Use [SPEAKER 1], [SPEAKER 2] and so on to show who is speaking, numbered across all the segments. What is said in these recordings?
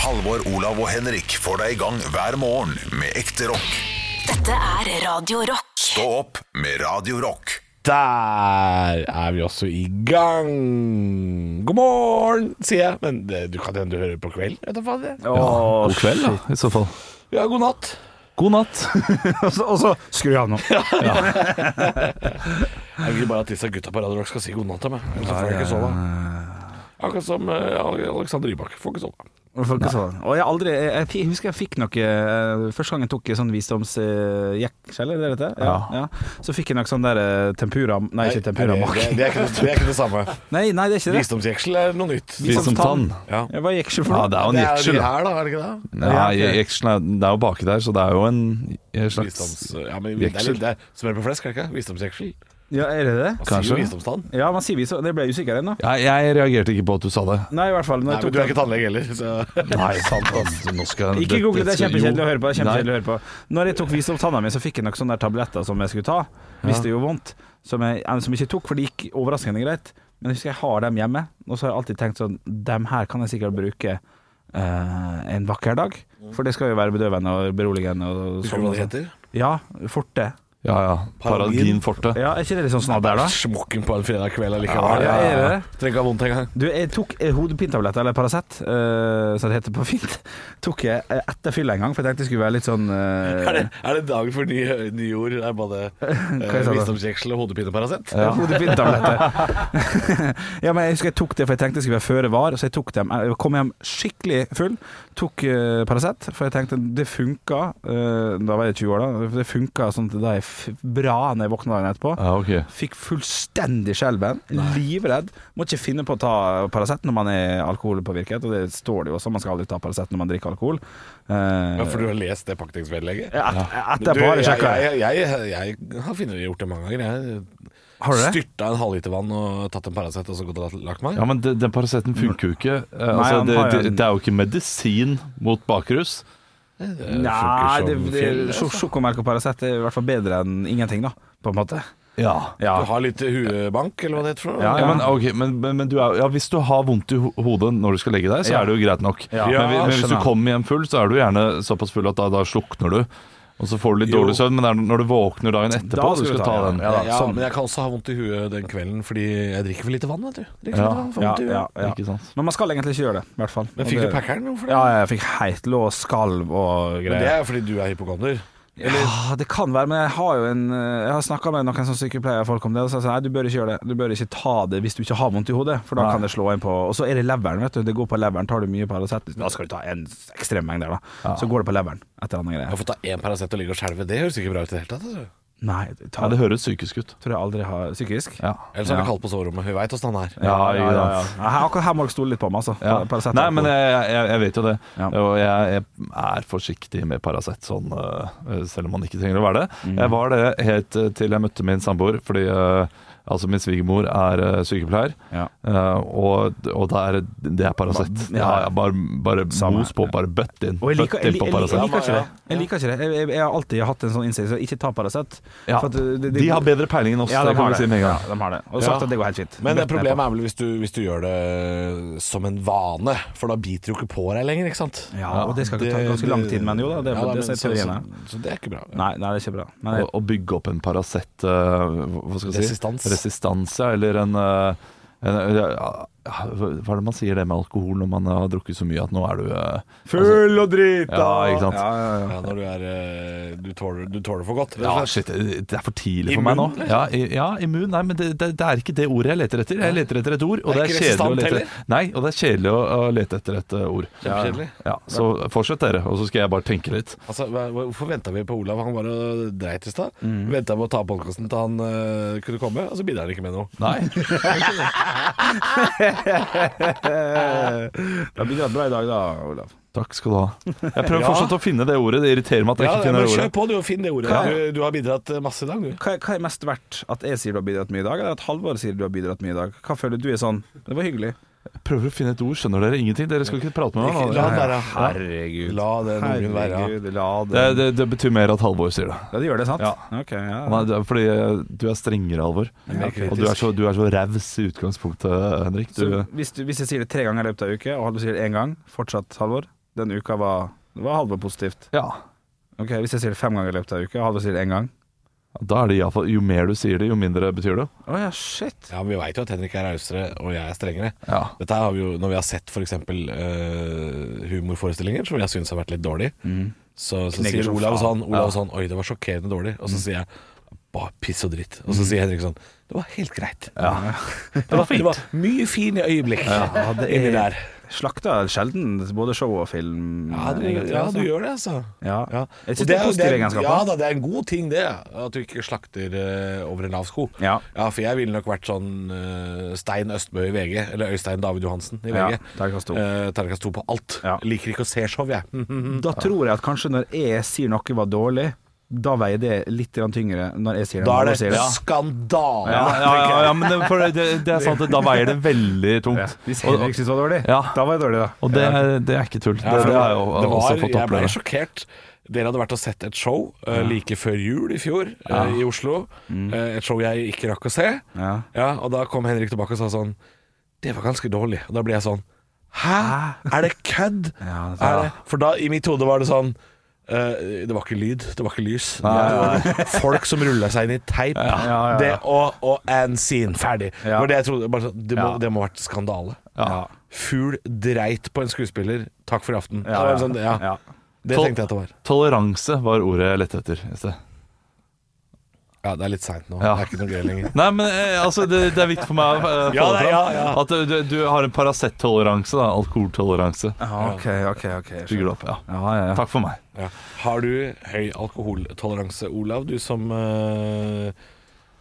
[SPEAKER 1] Halvor, Olav og Henrik får deg i gang hver morgen med ekte rock.
[SPEAKER 2] Dette er Radio Rock.
[SPEAKER 1] Stå opp med Radio Rock.
[SPEAKER 3] Der er vi også i gang. God morgen, sier jeg. Men det, du kan hende du hører på kvelden. vet du faen, jeg.
[SPEAKER 4] Åh,
[SPEAKER 5] God kveld, da, i så fall.
[SPEAKER 3] Ja, god natt.
[SPEAKER 5] God natt.
[SPEAKER 4] Og så- og så skrur jeg av nå.
[SPEAKER 3] Jeg vil bare at disse gutta på Radio Rock skal si god natt til meg. Ellers får jeg ikke sove. Akkurat som eh, Alexander Rybak. Får ikke sove.
[SPEAKER 4] Og folk er sånn. Og jeg, aldri, jeg, jeg, fi- husker jeg fikk noe eh, Første gang jeg tok en sånn visdomsjekkskjell, uh, eller det heter?
[SPEAKER 5] Ja.
[SPEAKER 4] Så fikk jeg noe sånn der eh, tempura Nei, ikke tempura
[SPEAKER 3] det, det, det, er ikke, det er ikke det samme.
[SPEAKER 4] Nei, nei, det er ikke det.
[SPEAKER 3] Visdomsjeksel er noe nytt.
[SPEAKER 5] Vi som tann.
[SPEAKER 3] Ja.
[SPEAKER 4] Ja, Hva gikk ikke for
[SPEAKER 5] Ja,
[SPEAKER 4] noe?
[SPEAKER 5] det er jo en
[SPEAKER 3] Det er jo
[SPEAKER 5] jeksel.
[SPEAKER 3] de
[SPEAKER 5] da.
[SPEAKER 3] her, da. Er det ikke det?
[SPEAKER 5] Ja,
[SPEAKER 4] Ja, ok.
[SPEAKER 5] jeksel er, det er jo baki der, så det er jo en en slags
[SPEAKER 3] Visdoms... Ja, men det er, litt- det er smør på flesk, er det ikke? Visdomsjeksel.
[SPEAKER 4] Ja, er det det?
[SPEAKER 3] Man
[SPEAKER 5] Kanskje.
[SPEAKER 3] sier jo visdomstann.
[SPEAKER 4] Ja, man sier visdom. Det ble jeg usikker ennå.
[SPEAKER 5] ja, Jeg reagerte ikke på at du sa det.
[SPEAKER 4] Nei, i hvert fall. Når
[SPEAKER 3] Nei,
[SPEAKER 4] jeg
[SPEAKER 3] men du
[SPEAKER 4] tok
[SPEAKER 3] er
[SPEAKER 4] den-
[SPEAKER 3] ikke tannlege heller, så
[SPEAKER 5] Nei, sant ass. Nå skal jeg-
[SPEAKER 4] Ikke google, det er
[SPEAKER 5] dette-
[SPEAKER 4] kjempekjedelig
[SPEAKER 5] jo.
[SPEAKER 4] å høre på. Det er kjempekjedelig å
[SPEAKER 5] Nei.
[SPEAKER 4] høre på. Når jeg tok visdomstanna mi, så fikk jeg noen sånne der tabletter som jeg skulle ta. Hvis det gjorde vondt. Som jeg, eh, som jeg ikke tok, for det gikk overraskende greit. Men jeg husker jeg har dem hjemme, og så har jeg alltid tenkt sånn Dem her kan jeg sikkert bruke eh, en vakker dag. For det skal jo være bedøvende og beroligende. Og
[SPEAKER 5] altså?
[SPEAKER 4] sånn
[SPEAKER 3] Husker du hva det heter?
[SPEAKER 4] Ja, forte.
[SPEAKER 5] Ja, ja. Paradin forte.
[SPEAKER 4] Ja, er ikke det litt sånn snadder, da?
[SPEAKER 3] Smokken på en fredag kveld
[SPEAKER 4] Ja,
[SPEAKER 3] allikevel.
[SPEAKER 4] ja, ja.
[SPEAKER 3] Trenger ikke ha vondt engang.
[SPEAKER 4] Du, jeg tok eh, hodepintabletter, eller Paracet, eh, som det heter på fint, tok jeg eh, etter fylla en gang, for jeg tenkte det skulle være litt sånn eh,
[SPEAKER 3] Er det, er det dag for nye, nye ord? Det er både eh,
[SPEAKER 4] sa du?
[SPEAKER 3] visdomsjeksel og hodepine-Paracet?
[SPEAKER 4] Ja. Hodepintabletter. ja, men jeg husker jeg tok det, for jeg tenkte jeg skulle være føre var, så jeg tok dem. Jeg kom hjem skikkelig full, tok uh, Paracet, for jeg tenkte det funka. eh, da var jeg 20 år, da. Det funka sånn at det er f- bra når jeg våkna dagen etterpå.
[SPEAKER 5] Ja, ok.
[SPEAKER 4] Fikk fullstendig skjelven. Livredd. Må ikke finne på å ta Paracet når man er alkoholpåvirket, og det står det jo også, man skal aldri ta Paracet når man drikker alkohol. Eh,
[SPEAKER 3] Ja, for du har lest det pakningsvedlegget?
[SPEAKER 4] et,
[SPEAKER 3] Du,
[SPEAKER 4] etterpå har jeg sjekka.
[SPEAKER 3] jeg, jeg, jeg, jeg har funnet gjort det mange ganger. Jeg
[SPEAKER 4] Har du det?
[SPEAKER 3] Styrta en halvliter vann og tatt en Paracet og så gått og lagt meg.
[SPEAKER 5] Ja, men det- den Paraceten funker jo ikke. Eh, altså,
[SPEAKER 4] han har jo
[SPEAKER 5] det, det,
[SPEAKER 4] en-
[SPEAKER 5] det er jo ikke medisin mot bakrus.
[SPEAKER 4] Nei,
[SPEAKER 3] Eh, funker
[SPEAKER 4] det,
[SPEAKER 3] som
[SPEAKER 4] det,
[SPEAKER 3] fjell, altså.
[SPEAKER 4] sjok- sjokomelk og Paracet er i hvert fall bedre enn ingenting, da. På en måte.
[SPEAKER 5] Ja.
[SPEAKER 4] Ja.
[SPEAKER 3] Du har litt huebank, eller hva det heter. for noe?
[SPEAKER 4] Ja,
[SPEAKER 5] Ja, men, ok, men, men, men du er, ja, hvis du har vondt i ho- hodet når du skal legge deg, så
[SPEAKER 4] Ja.
[SPEAKER 5] er det jo greit nok.
[SPEAKER 4] Ja.
[SPEAKER 5] men, vi-
[SPEAKER 4] Ja,
[SPEAKER 5] men hvis du
[SPEAKER 4] skjønner.
[SPEAKER 5] kommer hjem full, så er du gjerne såpass full at da, da slukner du. Og så får du litt
[SPEAKER 3] Jo.
[SPEAKER 5] dårlig søvn, men det er når du våkner dagen etterpå
[SPEAKER 4] Da
[SPEAKER 5] du skal ta den.
[SPEAKER 4] ja da,
[SPEAKER 3] ja,
[SPEAKER 4] sånn.
[SPEAKER 3] men jeg kan også ha vondt i huet den kvelden fordi jeg drikker for lite vann. vet Sånn, du Drikker for
[SPEAKER 5] Ja.
[SPEAKER 3] lite vann, får
[SPEAKER 4] Ja,
[SPEAKER 3] vondt i huet.
[SPEAKER 4] ja, ja.
[SPEAKER 5] Ikke sant?
[SPEAKER 4] Men man skal egentlig ikke gjøre det, i hvert fall.
[SPEAKER 3] Men
[SPEAKER 4] Og
[SPEAKER 3] fikk du
[SPEAKER 4] det-
[SPEAKER 3] packeren? Hvorfor det?
[SPEAKER 4] Ja, jeg fikk heit lås, skalv og
[SPEAKER 3] Men det
[SPEAKER 4] greier.
[SPEAKER 3] er jo fordi du er hypokonder.
[SPEAKER 4] Ja, det kan være, men jeg har jo en eh, Jeg har snakka med noen sånn sykepleierfolk om det, og så sa jeg, nei, du bør ikke gjøre det. Du bør ikke ta det hvis du ikke har vondt i hodet, for da kan det slå inn på Og så er det leveren, vet du. Det går på leveren. Tar du mye Paracet, da skal du ta en ekstrem mengde, da. Så går det på leveren. Et eller annet
[SPEAKER 3] Jeg
[SPEAKER 4] greier.
[SPEAKER 3] har fått ta én Paracet og ligge og skjelve. Det høres ikke bra ut i det hele tatt. Altså.
[SPEAKER 4] Nei, ta,
[SPEAKER 5] Ja, det høres psykisk ut.
[SPEAKER 4] tror jeg aldri har psykisk.
[SPEAKER 5] Ja.
[SPEAKER 3] Ellers er det kaldt på soverommet. Hun veit åssen han er.
[SPEAKER 5] Ja, ikke sant.
[SPEAKER 4] Ja, her- Akkurat her må dere stole litt på meg, altså.
[SPEAKER 5] Ja.
[SPEAKER 4] Paracet-
[SPEAKER 5] Nei, men eh, jeg, jeg, jeg vet jo det.
[SPEAKER 4] Ja.
[SPEAKER 5] Og jeg, jeg er forsiktig med Paracet, sånn, øh, selv om man ikke trenger å være det.
[SPEAKER 4] Mm.
[SPEAKER 5] Jeg var det helt øh, til jeg møtte min samboer, fordi øh, altså min svigermor er øh, sykepleier.
[SPEAKER 4] Ja.
[SPEAKER 5] øh, og og det er, det er Paracet.
[SPEAKER 4] Ba-
[SPEAKER 5] Ja,
[SPEAKER 4] ja.
[SPEAKER 5] ja, bare bare
[SPEAKER 4] Samme.
[SPEAKER 5] mos på, bare bøtt inn.
[SPEAKER 4] Og jeg liker,
[SPEAKER 5] Bøtt
[SPEAKER 4] jeg,
[SPEAKER 5] inn
[SPEAKER 4] jeg,
[SPEAKER 5] på
[SPEAKER 4] jeg, jeg
[SPEAKER 5] Paracet.
[SPEAKER 4] liker ikke det. Jeg liker ikke det Jeg, jeg, jeg har alltid hatt en sånn innstilling, så ikke ta Paracet.
[SPEAKER 5] Ja.
[SPEAKER 4] For at det- det-
[SPEAKER 5] De har bedre peiling enn oss,
[SPEAKER 4] Ja,
[SPEAKER 5] det
[SPEAKER 4] de
[SPEAKER 5] kan
[SPEAKER 4] har
[SPEAKER 5] vi si
[SPEAKER 4] det.
[SPEAKER 5] med en
[SPEAKER 4] Ja,
[SPEAKER 5] gang.
[SPEAKER 4] de har det. Og sagt
[SPEAKER 3] Ja.
[SPEAKER 4] at det går helt fint.
[SPEAKER 3] Men
[SPEAKER 4] Bøtt ned
[SPEAKER 3] problemet er vel hvis du, hvis du gjør det eh, som en vane, for da biter du ikke på deg lenger, ikke sant?
[SPEAKER 4] på. Ja, og det skal ikke ta ganske lang tid, men jo da. Det,
[SPEAKER 3] Ja, da,
[SPEAKER 4] det,
[SPEAKER 3] men
[SPEAKER 4] sier teorien her.
[SPEAKER 3] så, så, så det er ikke bra.
[SPEAKER 4] Nei, nei, det er ikke bra. Men
[SPEAKER 5] Å
[SPEAKER 4] jeg,
[SPEAKER 5] å bygge opp en Paracet øh, Hva skal jeg si?
[SPEAKER 3] Resistans.
[SPEAKER 5] Resistans, ja. Eller en, øh, en øh, ja, Hva er det man sier det med alkohol når man har drukket så mye at nå er du øh,
[SPEAKER 4] Full og drita!
[SPEAKER 5] Ja, ikke sant?
[SPEAKER 4] Ja, ja, ja.
[SPEAKER 3] Ja, når du er eh, Du tåler, du tåler for godt. rett og
[SPEAKER 5] altså, Ja,
[SPEAKER 3] slett.
[SPEAKER 5] shit, det er for tidlig for
[SPEAKER 3] Immun,
[SPEAKER 5] meg nå. Ja, i- ja, immun. Nei, men det, det, det er ikke det ordet jeg leter etter. Jeg leter etter et
[SPEAKER 3] Det
[SPEAKER 5] ord, og
[SPEAKER 3] er
[SPEAKER 5] det er
[SPEAKER 3] ikke
[SPEAKER 5] kjedelig å
[SPEAKER 3] resistant
[SPEAKER 5] lete
[SPEAKER 3] heller.
[SPEAKER 5] Nei, og det er kjedelig å, å lete etter et uh, ord.
[SPEAKER 3] Kjempekjedelig.
[SPEAKER 5] Ja, så fortsett dere, og så skal jeg bare tenke litt.
[SPEAKER 3] Altså, hva- hva- hvorfor venta vi på Olav? Han var og dreit i stad.
[SPEAKER 4] Mm.
[SPEAKER 3] Venta på å ta podkasten til han eh, kunne komme, og så bidrar han ikke med noe.
[SPEAKER 5] Nei.
[SPEAKER 4] Det har bidratt bra i dag Eh, da, Olav.
[SPEAKER 5] Takk skal du ha. Jeg prøver
[SPEAKER 3] Ja.
[SPEAKER 5] fortsatt å finne det ordet. Det irriterer meg at jeg
[SPEAKER 3] Ja,
[SPEAKER 5] ikke
[SPEAKER 3] men
[SPEAKER 5] finner det
[SPEAKER 3] Kjør
[SPEAKER 5] ordet.
[SPEAKER 3] på, du, og finn det ordet.
[SPEAKER 4] Ja.
[SPEAKER 3] Du, du har bidratt eh, masse i dag, du.
[SPEAKER 4] Hva, hva er mest verdt? At jeg sier du har bidratt mye i dag, eller at Halvor sier du har bidratt mye i dag? Hva føler du er sånn Det var hyggelig.
[SPEAKER 5] Prøver å finne et ord, skjønner dere ingenting? Dere skal ikke prate med
[SPEAKER 3] Ikke,
[SPEAKER 5] meg
[SPEAKER 3] la
[SPEAKER 5] nå.
[SPEAKER 3] den være.
[SPEAKER 4] Herregud.
[SPEAKER 3] La den ungen være.
[SPEAKER 4] Herregud, la
[SPEAKER 5] Det,
[SPEAKER 4] det
[SPEAKER 5] det, det betyr mer at Halvor sier det.
[SPEAKER 4] Ja, det gjør det, sant?
[SPEAKER 5] Ja.
[SPEAKER 4] Ok, ja.
[SPEAKER 5] Han er, det er fordi eh, du er strengere, Halvor.
[SPEAKER 3] mer
[SPEAKER 5] Og du er så, du er så raus i utgangspunktet, Henrik.
[SPEAKER 4] Så
[SPEAKER 5] Du,
[SPEAKER 4] hvis, du, hvis jeg sier det tre ganger i løpet av en uke, og Halvor sier det én gang, fortsatt Halvor? den uka var, var halve positivt.
[SPEAKER 5] Ja.
[SPEAKER 4] Ok, Hvis jeg sier det fem ganger i løpet av uka, halve sier det én gang.
[SPEAKER 5] Da er det i alle fall, Jo mer du sier det, jo mindre betyr det.
[SPEAKER 4] Å ja, shit.
[SPEAKER 3] Ja, men Vi veit jo at Henrik er rausere, og jeg er strengere.
[SPEAKER 5] Ja.
[SPEAKER 3] Dette her har vi jo, Når vi har sett f.eks. Uh, humorforestillinger som jeg syns har vært litt dårlig, så, så
[SPEAKER 4] Knegger
[SPEAKER 3] sier
[SPEAKER 4] som
[SPEAKER 3] Mm. Olav Mm.
[SPEAKER 4] faen.
[SPEAKER 3] sånn, Olav sånn Oi, det var sjokkerende dårlig. Og så sier jeg bare piss og dritt. Og så sier Henrik sånn Det var helt greit. det, var, det var mye fine øyeblikk inni der.
[SPEAKER 4] Slakter sjelden både show og film.
[SPEAKER 3] Ja, du,
[SPEAKER 4] egentlig,
[SPEAKER 3] ja,
[SPEAKER 4] altså.
[SPEAKER 3] du gjør det, altså.
[SPEAKER 4] Ja.
[SPEAKER 3] Ja.
[SPEAKER 4] Jeg
[SPEAKER 3] Og
[SPEAKER 4] synes det er
[SPEAKER 3] jo-
[SPEAKER 4] positive
[SPEAKER 3] det er,
[SPEAKER 4] egenskaper.
[SPEAKER 3] ja da, det er en god ting det, at du ikke slakter eh, over en lav sko.
[SPEAKER 4] Ja.
[SPEAKER 3] For jeg ville nok vært sånn eh, Stein Østbø i VG, eller Øystein David Johansen i
[SPEAKER 4] Ja,
[SPEAKER 3] VG.
[SPEAKER 4] terningkast to.
[SPEAKER 3] Eh, Terningkast to på alt.
[SPEAKER 4] Ja.
[SPEAKER 3] Liker ikke å se show, jeg.
[SPEAKER 4] Mm. Da tror jeg at kanskje når jeg sier noe var dårlig, da veier det litt grann tyngre. Når jeg sier
[SPEAKER 3] Da er
[SPEAKER 4] når du
[SPEAKER 3] det
[SPEAKER 4] sier
[SPEAKER 3] skandale.
[SPEAKER 5] Ja, ja, ja, ja men det, for det, det er sant, at da veier det veldig
[SPEAKER 4] Ja.
[SPEAKER 5] tungt.
[SPEAKER 4] Hvis Henrik syns det var dårlig,
[SPEAKER 5] Ja.
[SPEAKER 4] da var jeg dårlig, da.
[SPEAKER 5] Og det, det er ikke tull.
[SPEAKER 3] liksom-
[SPEAKER 5] Det,
[SPEAKER 3] Ja, for
[SPEAKER 5] det har jeg jo
[SPEAKER 3] det var,
[SPEAKER 5] også fått
[SPEAKER 3] Jeg ble
[SPEAKER 5] oppleve.
[SPEAKER 3] sjokkert. Dere hadde vært og sett et show eh, like før jul i fjor eh, i Oslo.
[SPEAKER 4] Mm.
[SPEAKER 3] Eh, et show jeg ikke rakk å se.
[SPEAKER 4] Ja.
[SPEAKER 3] og da kom Henrik tilbake og sa sånn Det var ganske dårlig. Og da ble jeg sånn Hæ? Er det kødd?
[SPEAKER 4] Ja, det-
[SPEAKER 3] er det? For da, i mitt hode, var det sånn eh, det var ikke lyd, det var ikke lys. Det var folk som rulla seg inn i teip.
[SPEAKER 4] ja, ja.
[SPEAKER 3] Det, og, og and scene, ferdig.
[SPEAKER 4] Ja.
[SPEAKER 3] Det, var det, jeg trodde, bare, sånn, det, må,
[SPEAKER 4] Ja.
[SPEAKER 3] det må ha vært skandale.
[SPEAKER 4] Ja.
[SPEAKER 3] Fugl dreit på en skuespiller. Takk for i aften.
[SPEAKER 4] Ja,
[SPEAKER 3] det, var
[SPEAKER 4] ja.
[SPEAKER 3] en sånn, ja.
[SPEAKER 4] Ja.
[SPEAKER 3] det tenkte jeg at det var.
[SPEAKER 5] Toleranse var ordet jeg lette etter i sted.
[SPEAKER 3] Ja, det er litt seint nå.
[SPEAKER 5] Ja.
[SPEAKER 3] Det er ikke noe gøy lenger.
[SPEAKER 5] Nei, men eh, altså, det, det er viktig for meg å eh, få
[SPEAKER 3] Ja,
[SPEAKER 5] det
[SPEAKER 3] nei,
[SPEAKER 5] fram.
[SPEAKER 3] ja, ja.
[SPEAKER 5] At eh, du, du har en Paracet-toleranse. da, Alkoholtoleranse.
[SPEAKER 4] Ja, OK, OK. ok jeg
[SPEAKER 5] Bygger
[SPEAKER 4] skjønner.
[SPEAKER 5] det opp, ja.
[SPEAKER 4] Ja, ja, ja.
[SPEAKER 5] Takk for meg.
[SPEAKER 3] Ja. Har du høy alkoholtoleranse, Olav? Du som eh,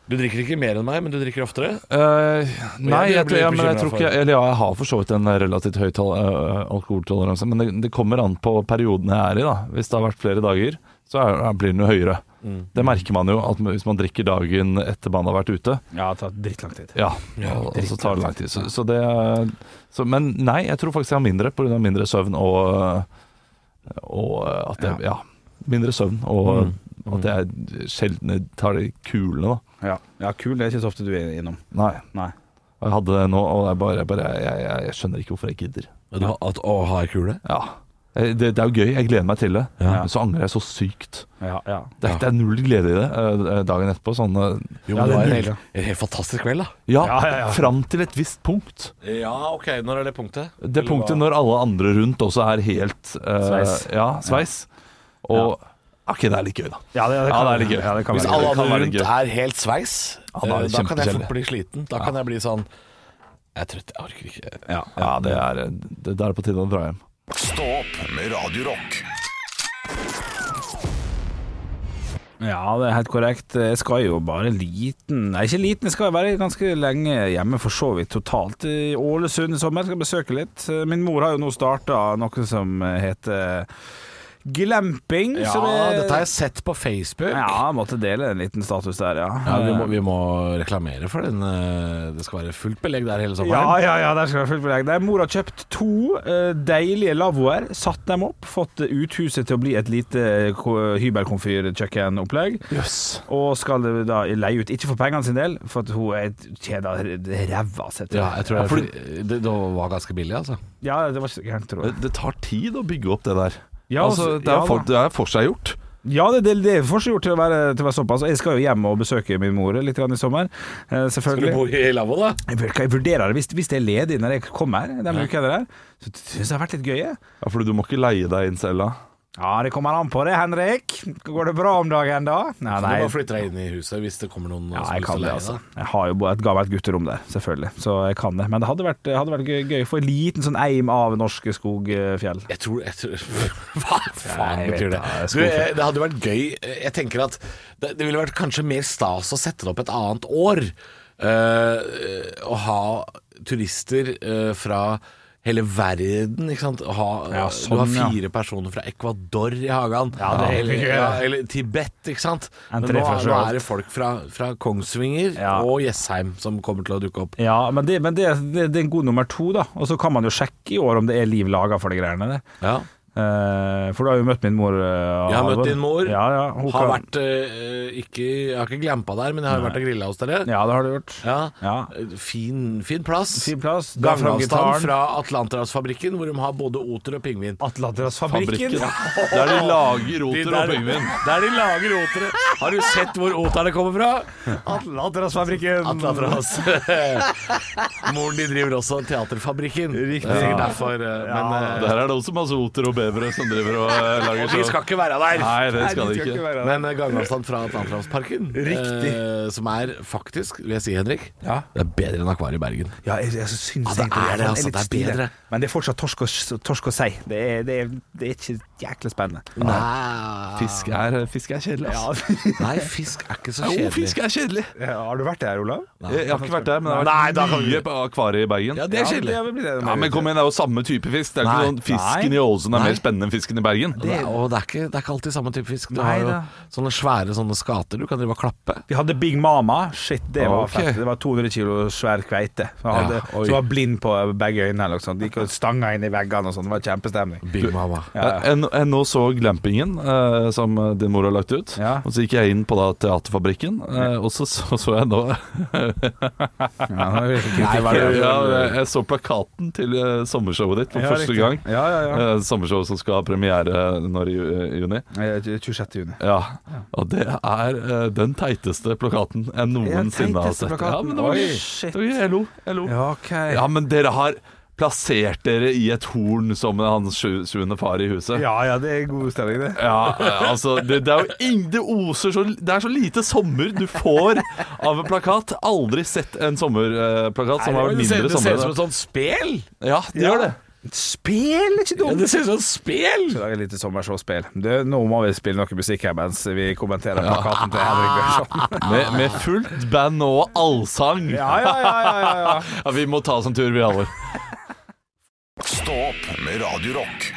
[SPEAKER 3] Du drikker ikke mer enn meg, men du drikker oftere.
[SPEAKER 5] Eh, nei,
[SPEAKER 3] blir
[SPEAKER 5] jeg, tror- ja,
[SPEAKER 3] litt
[SPEAKER 5] men jeg
[SPEAKER 3] bekymret
[SPEAKER 5] tror
[SPEAKER 3] for
[SPEAKER 5] ikke
[SPEAKER 3] det.
[SPEAKER 5] Eller ja, jeg har for så vidt en relativt høy tol- eh, alkoholtoleranse, men det, det kommer an på perioden jeg er i. da Hvis det har vært flere dager, så er, er- blir den jo høyere.
[SPEAKER 3] Mm.
[SPEAKER 5] Det merker man jo, at hvis man drikker dagen etter man har vært ute.
[SPEAKER 4] ja det tar drittlang tid.
[SPEAKER 5] Ja, og, og så tar det lang tid. Så, så det så, Men nei, jeg tror faktisk jeg har mindre pga. mindre søvn og, og at jeg Ja. Mindre søvn og at jeg sjelden tar de kulene, da.
[SPEAKER 4] Ja, ja kul. Det er ikke så ofte du er innom.
[SPEAKER 5] Nei.
[SPEAKER 4] Nei.
[SPEAKER 5] Og Jeg hadde det nå, og jeg bare, jeg, bare jeg, jeg, jeg skjønner ikke hvorfor jeg gidder.
[SPEAKER 3] Men du har, at, å, har jeg kule?
[SPEAKER 5] Ja. Eh, Det, det er jo gøy, jeg gleder meg til det.
[SPEAKER 4] Ja.
[SPEAKER 5] Men så angrer jeg så sykt.
[SPEAKER 4] Ja, ja.
[SPEAKER 5] Det, er- det er null glede i det eh, dagen etterpå. Sånn eh,
[SPEAKER 3] Jo, men det
[SPEAKER 4] Ja, det er
[SPEAKER 3] var
[SPEAKER 4] deilig.
[SPEAKER 3] en, en helt fantastisk kveld, da.
[SPEAKER 5] ja,
[SPEAKER 4] Ja, ja, ja.
[SPEAKER 5] fram til et visst punkt.
[SPEAKER 3] Ja, OK. Når er det punktet?
[SPEAKER 5] Det punktet når alle andre rundt også er helt eh,
[SPEAKER 4] Sveis.
[SPEAKER 5] Ja, sveis. Og ah, OK, det er litt gøy, da.
[SPEAKER 4] Ja, det,
[SPEAKER 5] Ja, det er litt gøy.
[SPEAKER 4] Ja, det kan
[SPEAKER 5] Hvis
[SPEAKER 4] være
[SPEAKER 3] Hvis alle
[SPEAKER 5] Det kan
[SPEAKER 3] andre
[SPEAKER 5] være
[SPEAKER 3] rundt
[SPEAKER 5] gøy.
[SPEAKER 3] er helt sveis,
[SPEAKER 5] Ja, da
[SPEAKER 3] eh,
[SPEAKER 5] er det
[SPEAKER 3] da kan jeg
[SPEAKER 5] kjempekjedelig.
[SPEAKER 3] fort bli sliten. Da kan jeg bli sånn Jeg er trøtt, jeg orker ikke.
[SPEAKER 4] Ja, ja.
[SPEAKER 5] Ja, det er, det, det er på tide å dra hjem.
[SPEAKER 1] Stå opp med Radio Rock.
[SPEAKER 4] ja, det er helt korrekt. Jeg skal jo bare liten Nei, ikke liten, jeg skal være ganske lenge hjemme, for så vidt totalt. I Ålesund i sommer skal jeg besøke litt. Min mor har jo nå starta noe som heter glamping.
[SPEAKER 3] Ja,
[SPEAKER 4] som er-
[SPEAKER 3] dette har jeg sett på Facebook.
[SPEAKER 4] Ja, jeg måtte dele en liten status der, ja.
[SPEAKER 3] Ja, vi, må, vi må reklamere for den. eh, Det skal være fullt belegg der hele
[SPEAKER 4] Ja,
[SPEAKER 3] sommeren.
[SPEAKER 4] ja, ja, der skal det være fullt belegg. Der Mor har kjøpt to eh, deilige lavvoer, satt dem opp, fått uthuset til å bli et lite eh, ko- hybelkomfyrkjøkkenopplegg,
[SPEAKER 5] Jøss.
[SPEAKER 4] og skal da leie ut, ikke for pengene sin del, for at hun er kjeda ræva sett.
[SPEAKER 3] Ja, jeg tror det,
[SPEAKER 5] Ja,
[SPEAKER 3] er
[SPEAKER 5] fordi-
[SPEAKER 3] fordi- det, det var ganske billig, altså.
[SPEAKER 4] Ja, det var ikke så gærent, tror
[SPEAKER 5] Det,
[SPEAKER 4] jeg.
[SPEAKER 5] det tar tid å bygge opp det der.
[SPEAKER 4] Ja,
[SPEAKER 5] altså, det, er
[SPEAKER 4] ja,
[SPEAKER 5] for,
[SPEAKER 4] da.
[SPEAKER 5] det er forseggjort.
[SPEAKER 4] Ja, det, det, det er for så gjort til å være, til å være såpass. Jeg skal jo hjem og besøke min mor litt grann i sommer, eh, selvfølgelig.
[SPEAKER 3] i lavvo, da?
[SPEAKER 4] Jeg vur- Jeg vurderer det hvis, hvis det er ledig når jeg kommer, de ukene der, så syns jeg det har vært litt gøy. jeg.
[SPEAKER 5] Ja, For du må ikke leie deg inn selv da.
[SPEAKER 4] Ja, det kommer an på det, Henrik. Går det bra om dagen da? Nei,
[SPEAKER 3] Kan
[SPEAKER 4] nei.
[SPEAKER 3] du bare flytte deg inn i huset hvis det kommer noen
[SPEAKER 4] Ja,
[SPEAKER 3] som
[SPEAKER 4] jeg
[SPEAKER 3] har lyst til å
[SPEAKER 4] kan det,
[SPEAKER 3] leie
[SPEAKER 4] altså.
[SPEAKER 3] deg?
[SPEAKER 4] Jeg har jo bo- et gammelt gutterom der, selvfølgelig, så jeg kan det. Men det hadde vært, det hadde vært gøy, gøy å få en liten sånn eim av norske skogfjell.
[SPEAKER 3] Jeg tror, jeg tror Hva faen
[SPEAKER 4] Nei, jeg vet
[SPEAKER 3] betyr det?
[SPEAKER 4] da, jeg er
[SPEAKER 3] Du, eh, det hadde jo vært gøy eh, Jeg tenker at det, det ville vært kanskje mer stas å sette det opp et annet år. eh, Å ha turister eh, fra hele verden, ikke sant. Å Ha, eh, du har
[SPEAKER 4] Ja, sånn, ja.
[SPEAKER 3] fire personer fra Ecuador i hagen.
[SPEAKER 4] Ja, det er helt
[SPEAKER 3] eller,
[SPEAKER 4] gøy, det.
[SPEAKER 3] ja, eller Tibet, ikke sant.
[SPEAKER 4] En
[SPEAKER 3] Men nå,
[SPEAKER 4] treffer seg
[SPEAKER 3] nå
[SPEAKER 4] alt.
[SPEAKER 3] er det folk fra, fra Kongsvinger
[SPEAKER 4] Ja.
[SPEAKER 3] og Jessheim som kommer til å dukke opp.
[SPEAKER 4] Ja, men, det, men det, det, det er en god nummer to, da. Og så kan man jo sjekke i år om det er liv laga for de greiene der.
[SPEAKER 3] Ja.
[SPEAKER 4] Eh, for du har jo møtt min mor. eh,
[SPEAKER 3] Jeg har
[SPEAKER 4] Halvor.
[SPEAKER 3] møtt din mor.
[SPEAKER 4] Ja, ja, hun
[SPEAKER 3] har
[SPEAKER 4] kan-
[SPEAKER 3] vært, eh, ikke, jeg har ikke glampa der, men jeg har vært og grilla hos dere.
[SPEAKER 4] Ja, det har du gjort.
[SPEAKER 3] Ja. Eh,
[SPEAKER 4] Ja.
[SPEAKER 3] Fin, fin plass.
[SPEAKER 4] Fin plass. Dra fram
[SPEAKER 3] Gangavstand
[SPEAKER 4] gitaren.
[SPEAKER 3] fra Atlanterhavsfabrikken, hvor de har både oter og pingvin.
[SPEAKER 4] Atlanterhavsfabrikken.
[SPEAKER 5] Der de lager
[SPEAKER 3] De
[SPEAKER 5] roter
[SPEAKER 3] der-
[SPEAKER 5] og pingvin.
[SPEAKER 3] Der de lager otere. Har du sett hvor oterne kommer fra?
[SPEAKER 4] Atlanterhavsfabrikken.
[SPEAKER 3] Atlanterhavs. Moren din driver også Teaterfabrikken.
[SPEAKER 4] Riktig.
[SPEAKER 3] Det er sikkert derfor. eh, Men eh,
[SPEAKER 5] Der er det også masse oter og bevere som driver og eh, lager
[SPEAKER 3] og de skal ikke være der.
[SPEAKER 5] Nei, det skal de ikke.
[SPEAKER 4] være
[SPEAKER 3] Men eh, gangavstand fra Atlanterhavsparken, eh, som er faktisk, vil jeg si, Henrik,
[SPEAKER 4] Ja.
[SPEAKER 3] det er bedre enn Akvariet i Bergen.
[SPEAKER 4] Ja, jeg, jeg syns
[SPEAKER 3] det
[SPEAKER 4] egentlig
[SPEAKER 3] er det,
[SPEAKER 4] Han
[SPEAKER 3] altså.
[SPEAKER 4] litt
[SPEAKER 3] Det er
[SPEAKER 4] stille.
[SPEAKER 3] bedre.
[SPEAKER 4] Men det er fortsatt torsk og, torsk og sei. Det er, det, er, det er ikke jæklig spennende.
[SPEAKER 3] Nei.
[SPEAKER 5] Fisk er, eh, fisk er kjedelig, ass.
[SPEAKER 3] Nei, fisk er ikke så
[SPEAKER 5] Jo,
[SPEAKER 3] kjedelig.
[SPEAKER 5] fisk er kjedelig.
[SPEAKER 4] Har du vært der, Olav?
[SPEAKER 5] Jeg, jeg har ikke vært der, men jeg har
[SPEAKER 3] Nei, da
[SPEAKER 5] vært
[SPEAKER 3] kan vi-
[SPEAKER 5] mye på akvariet i Bergen.
[SPEAKER 3] Ja, det er kjedelig.
[SPEAKER 4] Ja, det blir det.
[SPEAKER 5] Ja, men kom igjen, det er jo samme type fisk. Det er
[SPEAKER 3] Nei.
[SPEAKER 5] ikke sånn Fisken
[SPEAKER 4] Nei.
[SPEAKER 5] i Ålesund er
[SPEAKER 3] Nei.
[SPEAKER 5] mer spennende enn fisken i Bergen.
[SPEAKER 3] Det er, og det er, ikke, det er ikke alltid samme type fisk. Du
[SPEAKER 4] Nei
[SPEAKER 3] har jo
[SPEAKER 4] da.
[SPEAKER 3] sånne svære sånne skater du kan drive og klappe.
[SPEAKER 4] Vi hadde Big Mama. Shit, det var
[SPEAKER 5] Ok.
[SPEAKER 4] fett. Det var 200 kilo svær kveite. Som, hadde,
[SPEAKER 3] Ja, oi.
[SPEAKER 4] som var blind på begge øynene. eller noe sånt. De gikk og stanga inn i veggene og sånn. Det var kjempestemning.
[SPEAKER 3] Big Mama.
[SPEAKER 4] Ja.
[SPEAKER 5] Jeg, jeg nå så Glampingen, eh, som din mor har lagt ut.
[SPEAKER 4] Ja.
[SPEAKER 5] Og så gikk jeg inn på da Teaterfabrikken, eh, og så så, så jeg nå
[SPEAKER 4] Ja, det var virkelig
[SPEAKER 3] Nei, hva er det?
[SPEAKER 5] ja, Jeg så plakaten til eh, sommershowet ditt for
[SPEAKER 4] Ja,
[SPEAKER 5] første
[SPEAKER 4] riktig.
[SPEAKER 5] gang.
[SPEAKER 4] Ja, ja, ja.
[SPEAKER 5] Eh, Sommershow som skal ha premiere når i eh, juni.
[SPEAKER 4] Eh, 26. juni.
[SPEAKER 5] Ja, og det er eh, den teiteste plakaten jeg noensinne har
[SPEAKER 4] teiteste
[SPEAKER 5] sett.
[SPEAKER 4] plakaten.
[SPEAKER 5] Ja, men det var,
[SPEAKER 4] Oi,
[SPEAKER 5] det var, jeg lo. Jeg lo.
[SPEAKER 4] Ja, ok.
[SPEAKER 5] Ja, men dere har plassert dere i et horn som hans sju- sjuende far i huset.
[SPEAKER 4] Ja, ja, det er god stemning, det.
[SPEAKER 5] Ja, altså det, det er jo ing, det oser så Det er så lite sommer du får av en plakat. Aldri sett en sommerplakat som har vært
[SPEAKER 3] det ser
[SPEAKER 5] mindre
[SPEAKER 3] det ser ut som
[SPEAKER 5] sommer.
[SPEAKER 3] et sånt spel!
[SPEAKER 5] Ja, det gjør det.
[SPEAKER 4] Spel er ikke
[SPEAKER 3] Ja,
[SPEAKER 4] dumt!
[SPEAKER 3] det ser ut som et spel!
[SPEAKER 4] Skal lage litt sommershowspill. Du, nå må vi spille noe musikk her mens vi kommenterer plakaten til Henrik Bjørnson.
[SPEAKER 5] Med, med fullt band og allsang.
[SPEAKER 4] Ja, ja, ja, ja, ja, ja.
[SPEAKER 5] Ja, vi må ta oss en tur, vi alle.
[SPEAKER 1] Stå opp med Radio Rock.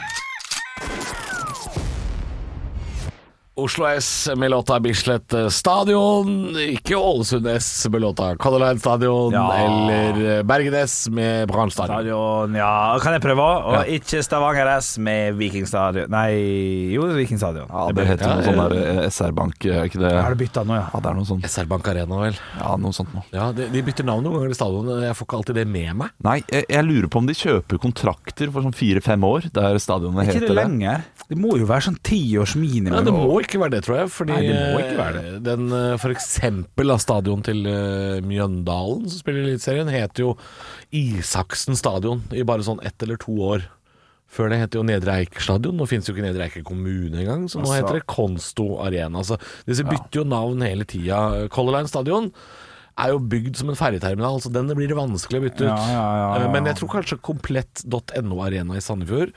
[SPEAKER 3] Oslo S med låta Bislett eh, Stadion. Ikke Ålesund S med låta Color Line Stadion.
[SPEAKER 4] Ja.
[SPEAKER 3] Eller eh, Bergen S med Brann Stadion.
[SPEAKER 4] Stadion, ja. Kan jeg prøve? Og ikke Stavanger S med Vikingstadion. Nei, jo, Vikingstadion.
[SPEAKER 5] Ja, det heter noe sånn der eh, SR-bank, er ikke det?
[SPEAKER 4] Har du bytta nå, ja?
[SPEAKER 5] Ja, det er noe sånt.
[SPEAKER 3] SR Bank Arena, vel.
[SPEAKER 5] Ja, noe sånt nå.
[SPEAKER 3] Ja, De, de bytter navn noen ganger i stadion. Jeg får ikke alltid det med meg.
[SPEAKER 5] Nei, jeg, jeg lurer på om de kjøper kontrakter for sånn fire-fem år, der stadionene
[SPEAKER 4] Ikke
[SPEAKER 5] heter
[SPEAKER 4] det
[SPEAKER 5] det.
[SPEAKER 4] lenger. Det må jo være sånn tiårs minimum.
[SPEAKER 3] Ja, det må ikke være det, tror jeg. Fordi
[SPEAKER 4] Nei, det må ikke være det.
[SPEAKER 3] eh, den eh, for eksempel av stadion til eh, Mjøndalen, som spiller i Eliteserien, heter jo Isaksen stadion i bare sånn ett eller to år. Før det het jo Nedre Eik stadion. Nå fins jo ikke Nedre Eik kommune engang, så nå
[SPEAKER 4] Altså.
[SPEAKER 3] heter det Konsto Arena. Altså, disse bytter jo navn hele tida. Color Line stadion er jo bygd som en ferjeterminal, så den blir det vanskelig å bytte ut.
[SPEAKER 4] Ja, ja, ja, ja.
[SPEAKER 3] Eh, Men jeg tror kanskje komplett.no arena i Sandefjord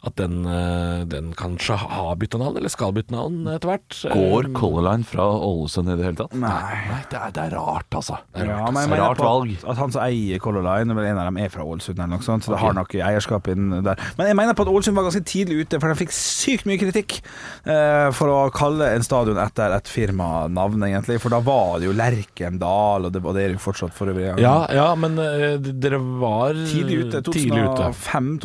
[SPEAKER 3] at den, eh, den kanskje har bytta navn, eller skal bytte navn etter hvert. Eh,
[SPEAKER 5] Går Color Line fra Ålesund i det hele tatt?
[SPEAKER 4] Nei.
[SPEAKER 5] det, er, det er rart, altså.
[SPEAKER 3] Det er
[SPEAKER 4] Ja,
[SPEAKER 3] rart,
[SPEAKER 4] men jeg
[SPEAKER 5] altså.
[SPEAKER 4] mener
[SPEAKER 5] Rart
[SPEAKER 4] på at-
[SPEAKER 5] valg.
[SPEAKER 4] At han som eier Color Line, vel, en av dem er fra Ålesund eller noe sånt, så det
[SPEAKER 5] Ok.
[SPEAKER 4] har nok eierskap inn der. Men jeg mener på at Ålesund var ganske tidlig ute, for de fikk sykt mye kritikk eh, for å kalle en stadion etter et firmanavn, egentlig. For da var det jo Lerkendal, og det, og det er jo fortsatt for øvrig.
[SPEAKER 3] Ja, ja, men eh, d- dere var
[SPEAKER 4] Tidlig ute.
[SPEAKER 3] Tidlig ute.
[SPEAKER 4] 2005,